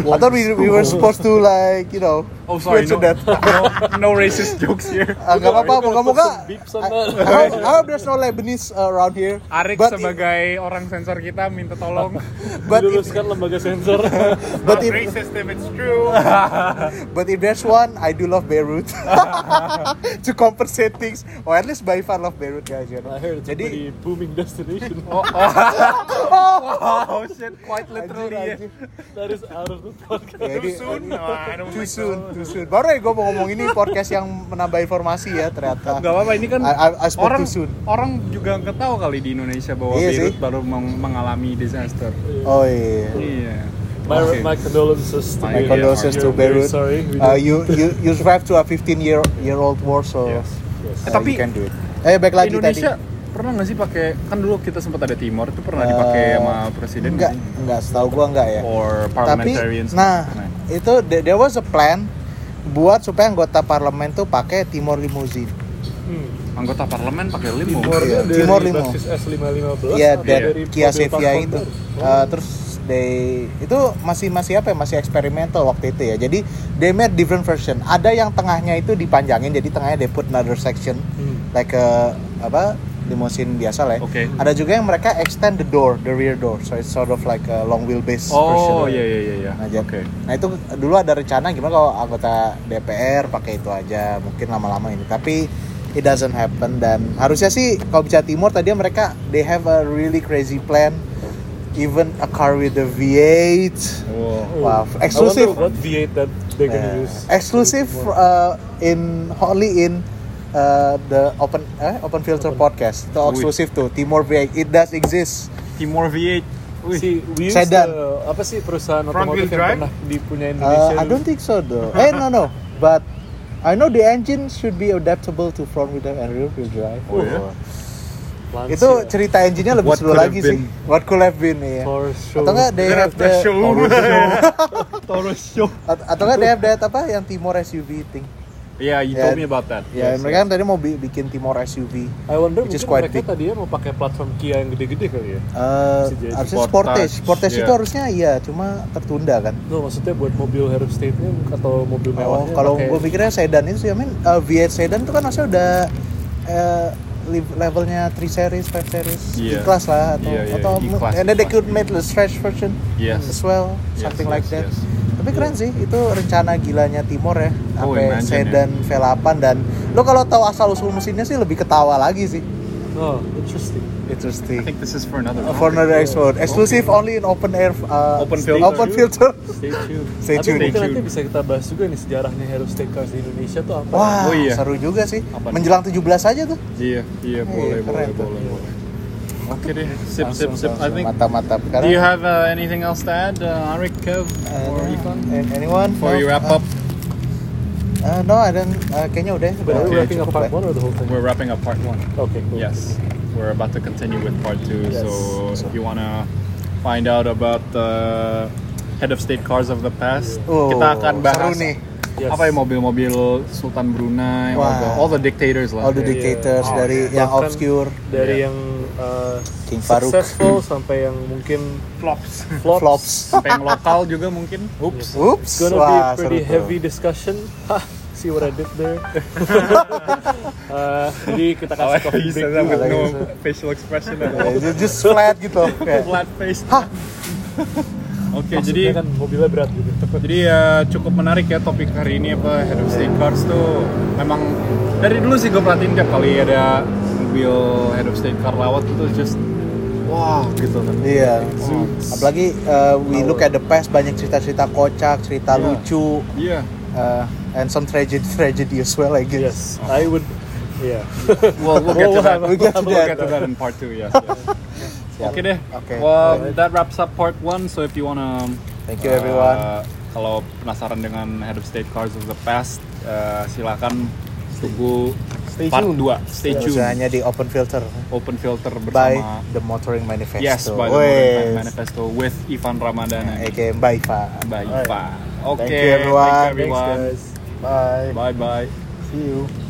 Speaker 3: atau we, we were supposed to like you know
Speaker 1: Oh sorry, no,
Speaker 3: mention that.
Speaker 1: no, no racist jokes here.
Speaker 3: Ah, nggak apa-apa,
Speaker 2: We're gonna
Speaker 3: moga-moga.
Speaker 2: put some beeps on
Speaker 3: I,
Speaker 2: that.
Speaker 3: I hope, I hope there's no Lebanese around here.
Speaker 1: Arik
Speaker 3: But i-
Speaker 1: sebagai orang sensor kita minta tolong.
Speaker 3: But if,
Speaker 2: diluluskan lembaga sensor
Speaker 3: but
Speaker 4: Not
Speaker 3: if,
Speaker 4: racist if it's true.
Speaker 3: but if there's one, I do love Beirut to compensate things, or at least by far love Beirut guys. You know.
Speaker 2: I heard it's a pretty
Speaker 3: Jadi
Speaker 2: booming destination
Speaker 1: oh, oh. oh shit, quite literally. ya.
Speaker 3: anjir, anjir.
Speaker 2: that is out of the podcast
Speaker 4: Too
Speaker 3: Jadi,
Speaker 4: soon? No, I don't
Speaker 3: too
Speaker 4: think
Speaker 3: soon,
Speaker 4: so.
Speaker 3: too soon. Baru ya gue mau ngomong ini podcast yang menambah informasi ya ternyata.
Speaker 1: Gak apa-apa ini kan
Speaker 3: I- I- I spoke
Speaker 1: orang
Speaker 3: too soon.
Speaker 1: orang juga nggak tahu kali di Indonesia bahwa
Speaker 3: Iya
Speaker 1: Beirut
Speaker 3: sih.
Speaker 1: baru meng- mengalami disaster.
Speaker 3: Oh iya.
Speaker 1: Iya.
Speaker 2: my,
Speaker 1: Oke.
Speaker 2: my condolences to
Speaker 1: My
Speaker 3: My
Speaker 2: Beirut.
Speaker 3: condolences to
Speaker 2: We're very
Speaker 3: Beirut.
Speaker 2: sorry we
Speaker 3: Uh,
Speaker 2: did-
Speaker 3: you you you survived to a 15 year year old war so. uh,
Speaker 2: yes yes
Speaker 1: Eh, tapi-
Speaker 3: you can do it. Eh back lagi
Speaker 1: Indonesia
Speaker 3: tadi.
Speaker 1: pernah nggak sih pakai kan dulu kita sempat ada Timor itu pernah dipakai
Speaker 3: Eh,
Speaker 1: sama presiden
Speaker 3: Enggak,
Speaker 1: nggak sih?
Speaker 3: enggak setahu gua enggak
Speaker 2: Oh,
Speaker 3: ya.
Speaker 1: Or
Speaker 3: Tapi
Speaker 1: parliamentarians?
Speaker 3: nah,
Speaker 1: Pernah.
Speaker 3: itu there there was a plan buat supaya anggota parlemen tuh pakai Timor limousine.
Speaker 2: Hmm.
Speaker 1: anggota parlemen pakai limo.
Speaker 2: Timornya
Speaker 3: Iya.
Speaker 2: dari
Speaker 3: Timor lima.
Speaker 2: Baptis S515
Speaker 3: Iya,
Speaker 2: atau
Speaker 1: that
Speaker 2: dari
Speaker 3: dan Kia
Speaker 2: mobil
Speaker 3: Sevia itu.
Speaker 2: transporter? Oh.
Speaker 3: Uh, terus they itu masih masih apa ya? Masih eksperimental waktu itu ya. Jadi they made different version. Ada yang tengahnya itu dipanjangin jadi tengahnya they put another section
Speaker 2: Hmm.
Speaker 3: like a, apa limousine biasa lah ya.
Speaker 1: Oke.
Speaker 3: Ada juga yang mereka extend the door, the rear door. So it's sort of like a long wheelbase version.
Speaker 1: Oh iya iya iya. iya.
Speaker 3: Nah, jadi-
Speaker 1: Oke.
Speaker 3: Nah itu dulu ada rencana gimana kalau anggota DPR pakai itu aja mungkin lama-lama ini tapi it doesn't happen dan harusnya sih kalau bicara Timur tadi mereka they have a really crazy plan even a car with a V8
Speaker 1: Wow.
Speaker 2: Oh.
Speaker 3: Wow,
Speaker 2: I
Speaker 3: exclusive.
Speaker 2: wonder what V8 that they're gonna
Speaker 3: Eh,
Speaker 2: use.
Speaker 3: exclusive uh, in only in uh, the open eh, open filter podcast itu
Speaker 1: Wih.
Speaker 3: eksklusif tuh Timur V8 it does exist
Speaker 1: Timor V8. Wih.
Speaker 2: Si, we used
Speaker 3: Sedan.
Speaker 2: the- apa sih perusahaan
Speaker 4: Front
Speaker 2: otomotif
Speaker 4: wheel
Speaker 2: yang
Speaker 4: drive?
Speaker 2: pernah dipunya Indonesia?
Speaker 3: Uh, I don't think so though. eh no no, but I know the engine should be adaptable to front wheel drive and rear wheel drive.
Speaker 1: Oh, ya?
Speaker 2: Lansia.
Speaker 3: Itu cerita engine-nya lebih
Speaker 1: What
Speaker 3: seru
Speaker 1: could
Speaker 3: lagi
Speaker 1: have
Speaker 3: sih. What could have been ya.
Speaker 2: For show.
Speaker 3: Atau enggak they have the
Speaker 4: That's show.
Speaker 2: Taurus show.
Speaker 3: Oh, at- atau enggak they have that apa yang Timor SUV thing.
Speaker 1: Yeah, you told me about that.
Speaker 3: Ya,
Speaker 1: Yes,
Speaker 3: mereka kan tadi mau bi- bikin Timor SUV.
Speaker 2: I wonder
Speaker 3: Which is
Speaker 2: mungkin
Speaker 3: quite
Speaker 2: mereka
Speaker 3: big.
Speaker 2: tadinya mau pakai platform Kia yang gede-gede kali ya?
Speaker 3: Eh,
Speaker 2: Bisa jadi
Speaker 3: harusnya
Speaker 1: Sportage,
Speaker 3: Sportage. Sportage
Speaker 1: iya.
Speaker 3: itu harusnya iya, cuma tertunda kan.
Speaker 2: No, maksudnya buat mobil head of state-nya atau mobil
Speaker 3: Oh,
Speaker 2: mewahnya
Speaker 3: kalau
Speaker 2: pakai-
Speaker 3: gue pikirnya sedan itu sih, I mean, eh, V8 sedan itu kan harusnya udah eh, li- levelnya 3 series, 5 series,
Speaker 1: Iya.
Speaker 3: E-class lah atau
Speaker 1: Iya, iya,
Speaker 3: atau
Speaker 1: E-class,
Speaker 3: and then they
Speaker 1: E-class.
Speaker 3: could make the stretch version
Speaker 1: Yes.
Speaker 3: as well,
Speaker 1: Yes,
Speaker 3: something
Speaker 1: yes,
Speaker 3: like that.
Speaker 1: yes.
Speaker 3: Tapi keren sih, itu rencana gilanya Timor ya,
Speaker 1: Oh,
Speaker 3: sampai
Speaker 1: imagine,
Speaker 3: sedan V8 dan lo kalau tahu asal usul mesinnya sih lebih ketawa lagi sih.
Speaker 2: Oh, interesting.
Speaker 1: I
Speaker 3: Interesting.
Speaker 1: think this is for another.
Speaker 3: Uh,
Speaker 1: one.
Speaker 3: For another episode, exclusive only in open air. uh,
Speaker 1: Open filter.
Speaker 3: Open filter.
Speaker 2: Stay tuned.
Speaker 3: Stay
Speaker 2: Tapi mungkin
Speaker 3: tuned.
Speaker 1: Stay
Speaker 2: nanti
Speaker 1: tuned.
Speaker 2: bisa kita bahas juga nih sejarahnya Hero State Cars di Indonesia tuh apa.
Speaker 3: Wah,
Speaker 1: Oh, iya.
Speaker 3: seru juga sih.
Speaker 1: Apa?
Speaker 3: Menjelang 17 aja tuh.
Speaker 1: Iya, iya boleh,
Speaker 3: keren
Speaker 1: boleh,
Speaker 3: tuh.
Speaker 1: boleh, boleh. Oke deh, sip, sip,
Speaker 2: Langsung,
Speaker 1: sip. I think.
Speaker 3: Mantap-mantap.
Speaker 1: Do you
Speaker 3: Karena
Speaker 1: have uh, anything else to add, uh, Arik, Kev, or
Speaker 3: Uh,
Speaker 1: Ivan?
Speaker 3: And eh, anyone?
Speaker 1: Before
Speaker 3: No?
Speaker 1: you wrap up,
Speaker 3: Uh, no, I don't. uh, kayaknya udah.
Speaker 2: But are
Speaker 1: Okay,
Speaker 2: we wrapping up
Speaker 3: cukup eh.
Speaker 2: part
Speaker 3: lah.
Speaker 2: one or the whole thing?
Speaker 1: we're wrapping up part one.
Speaker 2: Okay, Uh, cool.
Speaker 1: Yes, we're about to continue with part two.
Speaker 2: Yes.
Speaker 1: So if you wanna find out about the head of state cars of the past,
Speaker 3: Oh,
Speaker 1: kita akan
Speaker 3: seru
Speaker 1: bahas
Speaker 3: nih.
Speaker 2: Yes.
Speaker 1: apa ya mobil-mobil Sultan Brunei, all
Speaker 3: Wah.
Speaker 1: the, all the dictators lah.
Speaker 3: All
Speaker 2: Iya,
Speaker 3: the
Speaker 2: iya.
Speaker 3: dictators
Speaker 2: Oh,
Speaker 3: dari
Speaker 2: iya.
Speaker 3: yang
Speaker 2: Bahkan
Speaker 3: obscure.
Speaker 2: dari
Speaker 1: Iya.
Speaker 2: yang uh,
Speaker 3: King Farouk.
Speaker 2: successful sampai yang mungkin
Speaker 1: flops.
Speaker 2: flops.
Speaker 3: Flops.
Speaker 1: Sampai yang lokal juga mungkin. Oops.
Speaker 2: Yes.
Speaker 3: Oops.
Speaker 2: It's gonna
Speaker 3: Wah,
Speaker 2: be a pretty
Speaker 3: seru tuh.
Speaker 2: heavy discussion. Ha, See what I did there. Uh, jadi kita kasih
Speaker 1: However
Speaker 2: coffee
Speaker 1: you
Speaker 2: break
Speaker 1: said that
Speaker 2: dulu.
Speaker 1: with
Speaker 3: juga.
Speaker 1: no facial expression at all.
Speaker 3: Yeah, Eh, just flat gitu. Kayak,
Speaker 1: Flat face.
Speaker 3: Hah?
Speaker 1: Oke, jadi
Speaker 2: Maksudnya kan mobilnya berat gitu.
Speaker 1: jadi eh, cukup menarik ya topik hari ini apa head of state cars tuh memang dari dulu sih gue perhatiin tiap kali ada mobil head of state car lewat itu just wow gitu kan.
Speaker 3: Iya.
Speaker 1: Zoots.
Speaker 3: Apalagi uh, we look at the past banyak cerita-cerita kocak, cerita
Speaker 1: Iya.
Speaker 3: lucu,
Speaker 1: Iya.
Speaker 3: uh, and some tragedy tragedy as well I
Speaker 2: Yes,
Speaker 3: guess.
Speaker 2: I would. Yeah.
Speaker 1: Well, we'll get to
Speaker 2: We'll
Speaker 1: that.
Speaker 2: have- we'll get to
Speaker 1: We'll get
Speaker 3: that.
Speaker 1: to that in part two. Yes. yes.
Speaker 3: Siap.
Speaker 1: Oke deh.
Speaker 3: Oke.
Speaker 1: Well,
Speaker 2: Alright.
Speaker 1: that wraps up part one. So if you wanna,
Speaker 3: Thank you, everyone.
Speaker 1: uh, kalau penasaran dengan head of state cars of the past, uh, silakan tunggu
Speaker 2: Stay
Speaker 1: part
Speaker 2: tuned.
Speaker 1: 2 Stay
Speaker 3: Iya,
Speaker 1: tuned.
Speaker 3: Usahanya di open filter
Speaker 1: Open filter
Speaker 3: by
Speaker 1: bersama.
Speaker 3: the Motoring Manifesto.
Speaker 1: Yes, by the
Speaker 3: Wes. Nah,
Speaker 1: Modern Fan Manifesto with Ivan Ramadan and
Speaker 3: Okay, bye Pak.
Speaker 1: Mbak
Speaker 2: Alright.
Speaker 1: Iva. Oke,
Speaker 3: you, everyone.
Speaker 1: thank you,
Speaker 2: Thanks,
Speaker 1: everyone.
Speaker 2: guys. Bye.
Speaker 1: Bye bye.
Speaker 2: See you.